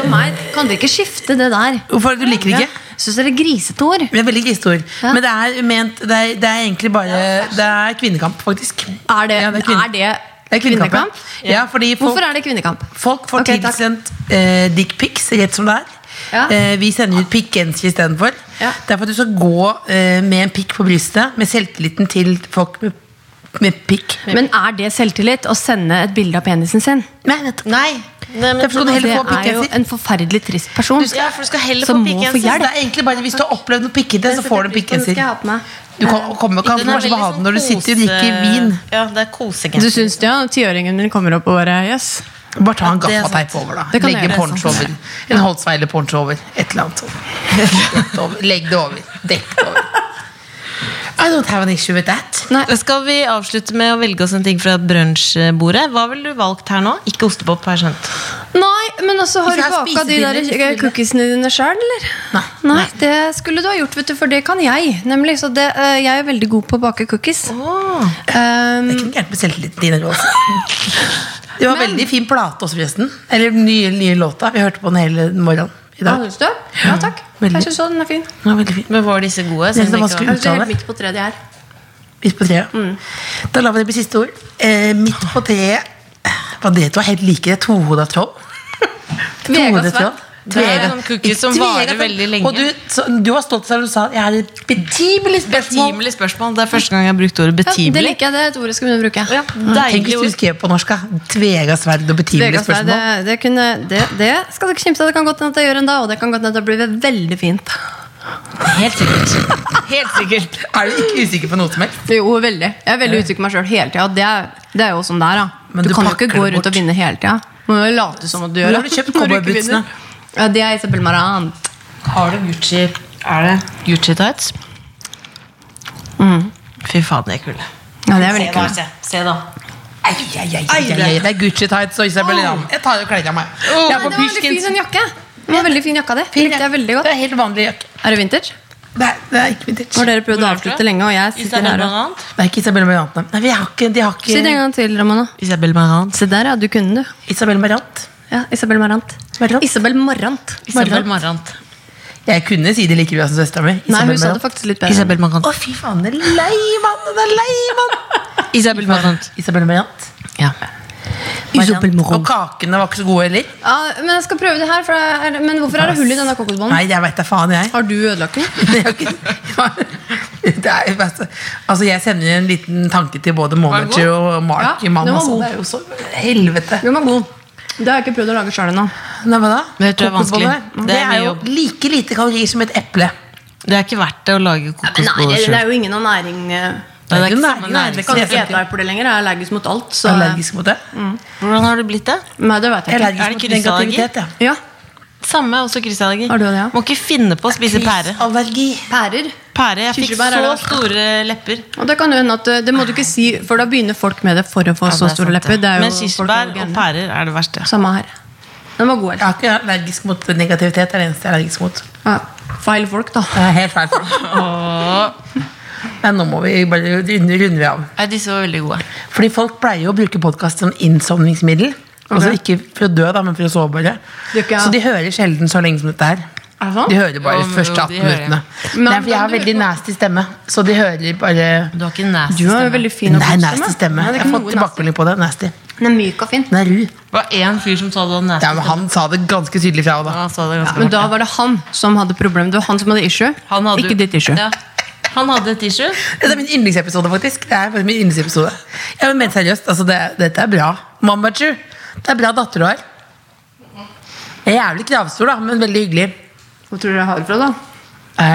Fysj og meg. Kan dere ikke skifte det der? hvorfor er det du liker det ikke? Syns dere grisete ord? Det er veldig grisete ord. Ja. Men det er, ment, det, er, det er egentlig bare Det er kvinnekamp, faktisk. Er det, Ja, er det er kvinn- det, Det er kvinnekamp. kvinnekamp? ja. Ja, fordi folk, Hvorfor er det kvinnekamp? Folk får Ok, takk. tilsendt eh, dickpics rett som det er. Ja. Eh, vi sender ut pikkgenser istedenfor. Ja. Det er for at du skal gå eh, med en pikk på brystet, med selvtilliten til folk med, med pikk. Men er det selvtillit å sende et bilde av penisen sin? Nei, nettopp. Nei. Nei, men- Derfor skal du Det heller få er jo pikkgenser. en forferdelig trist person. Du skal- ja, for du skal heller Som få må pikkgenser. få Så hjelp. det er egentlig bare Hvis du har opplevd noe pikkete, så får du en Den skal pikkgenser. jeg ha på meg. Du kan, kommer, kan Den er kanskje veldig bare ha sånn den når du sitter og drikker kose- vin. Ja, det er kosegenser. Du syns det, ja? Tiåringen min kommer opp og bare Jøss. Bare ta en Ja, det er gaffateip over, da. Det kan Legge jeg gjøre, poncho sant. over. En Holtzweiler poncho over. Et eller annet sånt. Dekk det over. Legg det over. Dekk det over. I don't have an issue with that. Nei. Da skal vi avslutte med å velge oss en ting fra brunsjbordet. Hva ville du valgt her nå? Ikke ostepop, har jeg skjønt. Nei, men altså, har Ikke du ha baka de der spisepinner, eh, cookiesene dine sjøl, eller? Nei. Nei, det skulle du ha gjort, vet du, for det kan jeg. Nemlig, så det, eh, Jeg er veldig god på å bake cookies. Um, Det er ikke gærent med selvtilliten din. Rose. Det var veldig fin plate også, forresten. Eller den nye, nye låta. Vi hørte på den hele morgenen i Ja, dag. syns Ah, du? Ja takk. Veldig. Jeg syns også den er fin. Den var veldig fin. Men var disse gode? Synes det var Jeg vanskelig. synes det er Uttale. helt midt på treet de er. Midt på treet. Mm. Da lar vi det bli siste ord. Eh, midt på treet Var det to helt like det? Tohoda troll? Tohoda Svein. troll? Det er Tvega- sånn cookies som Tvega varer troll. veldig lenge. Og du, så, du var stolt av det du sa. Jeg har et betimelig spørsmål. Betimelig spørsmål. Det er første gang jeg har brukt ordet Ja, det betimelig. liker jeg, det er et ord jeg skal begynne å bruke. Ja, Tenk deilig hvis du ord. skrev på norsk. da. Tvega sverd og betimelig Vegas, nei, det, spørsmål. det, kunne, det, det skal du ikke kimse av. Det kan godt hende at jeg gjør en dag, og det kan godt hende at det blir veldig fint. Helt sikkert. Helt sikkert. Er du ikke usikker på noe som helst? Jo, veldig. Jeg er veldig usikker på meg sjøl hele tida. Det, er- det er jo sånn det er, da. Men du, du kan jo pakker ikke gå det rundt bort. og vinne hele tida. Må jo late som at du gjør Hvor har det. du kjøpt når ikke cowboybootsene? vinner. Ja, det er Isabel Marant. Har du Gucci Er det Gucci tights? Mm. Fy faen, de er kule. Ja, det er veldig kult. se. se da. Ai, ai, ai, ai, ai, ai. Det er Gucci tights og Isabel Ram. Jeg tar og kler av meg. Jeg er på Men det var veldig fin Pysjkins. sånn jakke. Det var veldig fin jakka di. Likte jeg veldig godt. Det er helt vanlig jakke. Er det vintage? Det er, det er ikke vintage. Har dere Hvor er prøvd å det fra? avslutte lenge, og jeg sitter Isabel her og Marant. Det er ikke Isabel Marant. nei. Nei, vi har ikke, de har ikke Si det en gang til, Ramona. Isabel Marant. Se der, ja. Du kunne, du. Isabel Marant. Ja, Isabel Marant. Marant. Isabel Marant. Isabel Marant. Jeg kunne si det like bra som søstera mi. Nei, hun sa det faktisk litt bedre. Isabel Marant. Å, fy faen, det er lei mann! Det er lei mann! Isabel Marant. Isabel Marant. Ja. Isabel Og Marant. kakene var ikke så gode heller. Ja, men jeg skal prøve det her, for det er, men hvorfor er det hull i denne kokosbollen? Nei, jeg veit da faen, jeg. Har du ødelagt den? Det er jo ikke- Det er, jo bare så- altså, jeg sender en liten tanke til både manager og Mark. Ja, i mann, den var altså. god. Det er jo så helvete. Den var god. Det har jeg ikke prøvd å lage sjøl ennå. Nei, hva da? Men vet du, det er vanskelig. Kokosboller? Det er Det er mye jo jobb. like lite kalorier som et eple. Det er ikke verdt det å lage kokosboller det sjøl. er jo ingen av næring eh, Det er jo ikke nær- samme nær- næring. Kan ikke Jeg er ete eple lenger. Jeg er allergisk mot alt. Så, Allergisk mot det? Hvordan har du blitt det? Nei, det vet Jeg er jeg ikke. Mm. allergisk Er det mot krystallergi? negativitet, ja. Ja, Samme, også krystallergi. Har du det, ja? Må ikke finne på å spise pære. Allergi. Pærer. Pære, Jeg fikk Kirsebær er det så verste. store lepper. Og Det kan jo hende at eh, det må du ikke si, for da begynner folk med det for å få så store lepper. Det er jo Men folk er kirsebær jo og gærne. pærer er det verste. Samme her. Den var god. Jeg er ikke allergisk mot negativitet. Det er det eneste jeg er allergisk mot. Ja. Feil folk, da. Det er helt feil. for meg. Nei, nå må vi bare runde, runde vi av. Nei, disse var veldig gode. Fordi folk pleier jo å bruke podkast som innsovningsmiddel. Altså ikke for å dø, da, men for å sove bare. Det er ikke- Så de hører sjelden så lenge som dette her. Er det sant? De hører bare Jo, men første jo, 18 de hører. minuttene. Men- Det er fordi jeg har veldig nasty stemme, så de hører bare Du har ikke nasty Du har jo stemme. veldig fin og Nei, god nasty stemme. Nei, det er Jeg ikke har noe fått tilbakemelding på det. Nasty. nasty. Den er myk og fin. Den er ru. Det var én fyr som sa du hadde Ja, nasty men stemme. han sa det ganske tydelig fra. da Han sa det ganske Men bra. da var det han som hadde problem. Det var han som hadde issue, Han hadde- ikke ditt issue. Ja. Han hadde et issue. Det er min yndlingsepisode, faktisk. Det er faktisk min yndlingsepisode Ja, men helt seriøst, altså det, dette er bra. Mambachu. Det er bra datter du har. Jeg er jævlig kravstor, da, men veldig hyggelig. Hvor tror du jeg har det fra, da?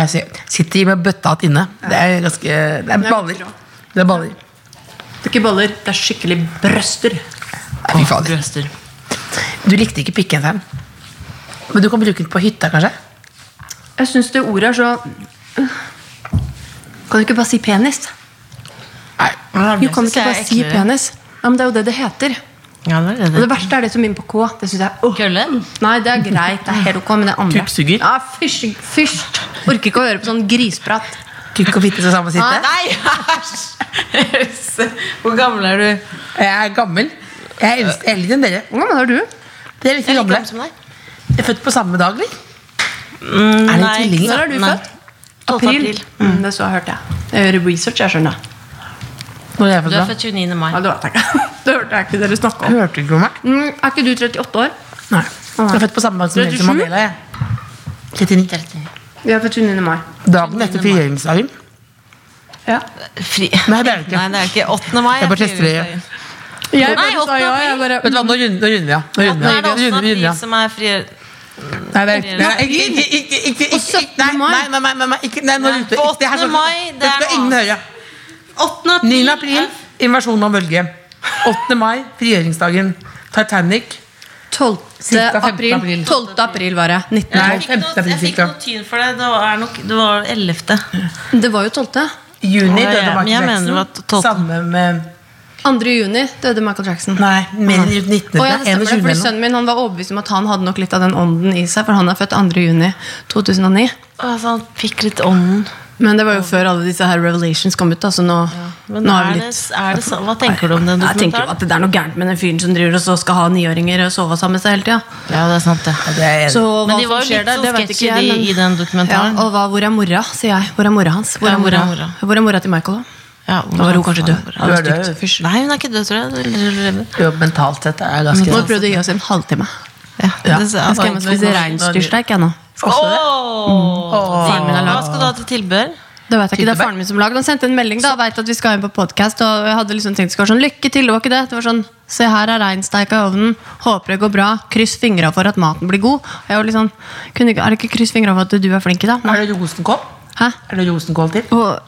Eh, så jeg Sitter med bøtta hatt inne. Det er ganske Det er baller. Det er baller. Det er ikke baller, det er skikkelig brøster. Nei, Fy fader. Brøster. Du likte ikke pikken, Sam. Men du kan bruke den på hytta, kanskje? Jeg syns det ordet er så Kan du ikke bare si penis? Nei, hvordan Du er det? kan synes ikke jeg er bare si eklere. penis. Ja, men det er jo det det heter. Ja, det er Og det. det verste er det som begynner på K. Det synes jeg åh. Køllen? Nei, det er greit. Det er helt ok, men det andre Kukksuger? Ja, fysj. fysj. Orker ikke å høre på sånn grisprat. Kukk og fitte på samme Ah, side? Nei, æsj! Hvor gammel er du? Jeg er gammel. Jeg er eldst- eldre enn dere. Hvor gammel er du? Dere Jeg er like er like gamle. gammel som deg. Jeg er født på samme dag, eller? Mm, Er det nei, tvillinger? ikke Når er du sant? Nei. født? 12. april. Mm, det så jeg hørte jeg. Jeg gjør research, jeg skjønner. Når er jeg Du født er da? født 29. mai. Ja, det hørte jeg ikke. Det hørte jeg ikke dere snakke om. Hørte du ikke om meg? Mm, er ikke du 38 år? Nei. Jeg er født på samme dag som Nelson 37? Mandela. jeg. 39. Vi er født 29. mai. Dagen etter frigjøringsdagen. Ja. Fri... Nei, det er det ikke. Nei, det er ikke 8. mai. Jeg bare tester det. Jeg Nei, bare sa åttende ja. april. Jeg bare Vet du hva, Nå runder nå runder vi av. Nå Ja, runder vi Nei, av. det er 8. Nå runder vi- april runder vi av. som er frigjør... Nei, det er ikke- nei, ikke- ikke- ikke- ikke- ikke- Og 17. nei, mai. Nei, nei, nei, nei, nei, ikke- nei, nå Nei, ruter ikke- det her skal- 8. mai, det Det skal er ingen noe høre. 8. 9. april, invasjonen av Norge. 8. mai, frigjøringsdagen. Titanic. 12. Cirka 15. april. april. 12. april var det. 19. Nei, Jeg fikk 15. noe, jeg april fikk ca. noe tyn for det. Det var, nok, det var 11. Det var jo 12. Juni Ja, ja, døde men jeg Michael mener Jackson. det var 12. Samme med 2. juni døde Michael Jackson. Nei, mer enn rundt Å, ja, 1900. det stemmer det, 21 fordi eller noe. Sønnen min han var overbevist om at han hadde nok litt av den ånden i seg, for han er født 2. juni 2009. Altså, han fikk litt ånden. Men det var jo før alle disse her revelations kom ut. Da, så nå, Men nå er, er vi det, litt er det sånn? Hva tenker du om den Jeg tenker jo dokumentaren? at det er noe gærent med den fyren som driver og så skal ha niåringer og sove sammen med seg hele tida. Ja, det er sant, det. Det er jeg enig Så i. hva Men de var som jo skjer litt der, sånn det vet ikke sketchy jeg. Men... de, i den ja, dokumentaren. og hva, hvor er mora, sier jeg. Hvor er mora hans? Hvor Ja, er hvor er mora, mora? hvor er mora til Michael, da? Ja, Da var hun kanskje død. Hun er død. Stygt. Fysj. Nei, hun er ikke død, tror jeg. Eller- eller- eller- Jo, mentalt sett er det ganske Nå prøvde jeg å gi oss en halvtime. Ja, Ja. det- Jeg skal hjem og altså, spise reinsdyrsteik, jeg nå. Åh! Faren min har Hva lagd. skal du ha til tilbehør? Det vet jeg ikke, det er faren min som lagde Han sendte en melding da, vet at vi skal inn på podcast Og jeg hadde liksom tenkt, skal være sånn, lykke til, det var ikke det Det var sånn, se her er regnsteika i ovnen Håper det går bra, kryss fingrene for at maten blir god Og Jeg var litt sånn, kunne, ikke- Er det ikke kryss fingrene for at du er flink i dag? Er det rosenkål? Hæ? Er det rosenkål til? Og,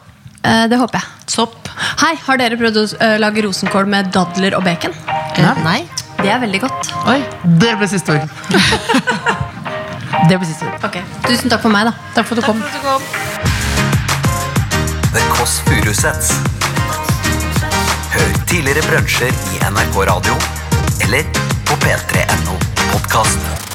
eh, det håper jeg Sopp? Hei, har dere prøvd å eh, lage rosenkål med dadler og bacon? Eh, Nei. Det er veldig godt Oi. Det ble siste ord. det ble siste ord. Ok, tusen takk for meg da Takk for at du kom. The Kåss Furuseths. Hør tidligere brunsjer i NRK Radio eller på p3.no podkast.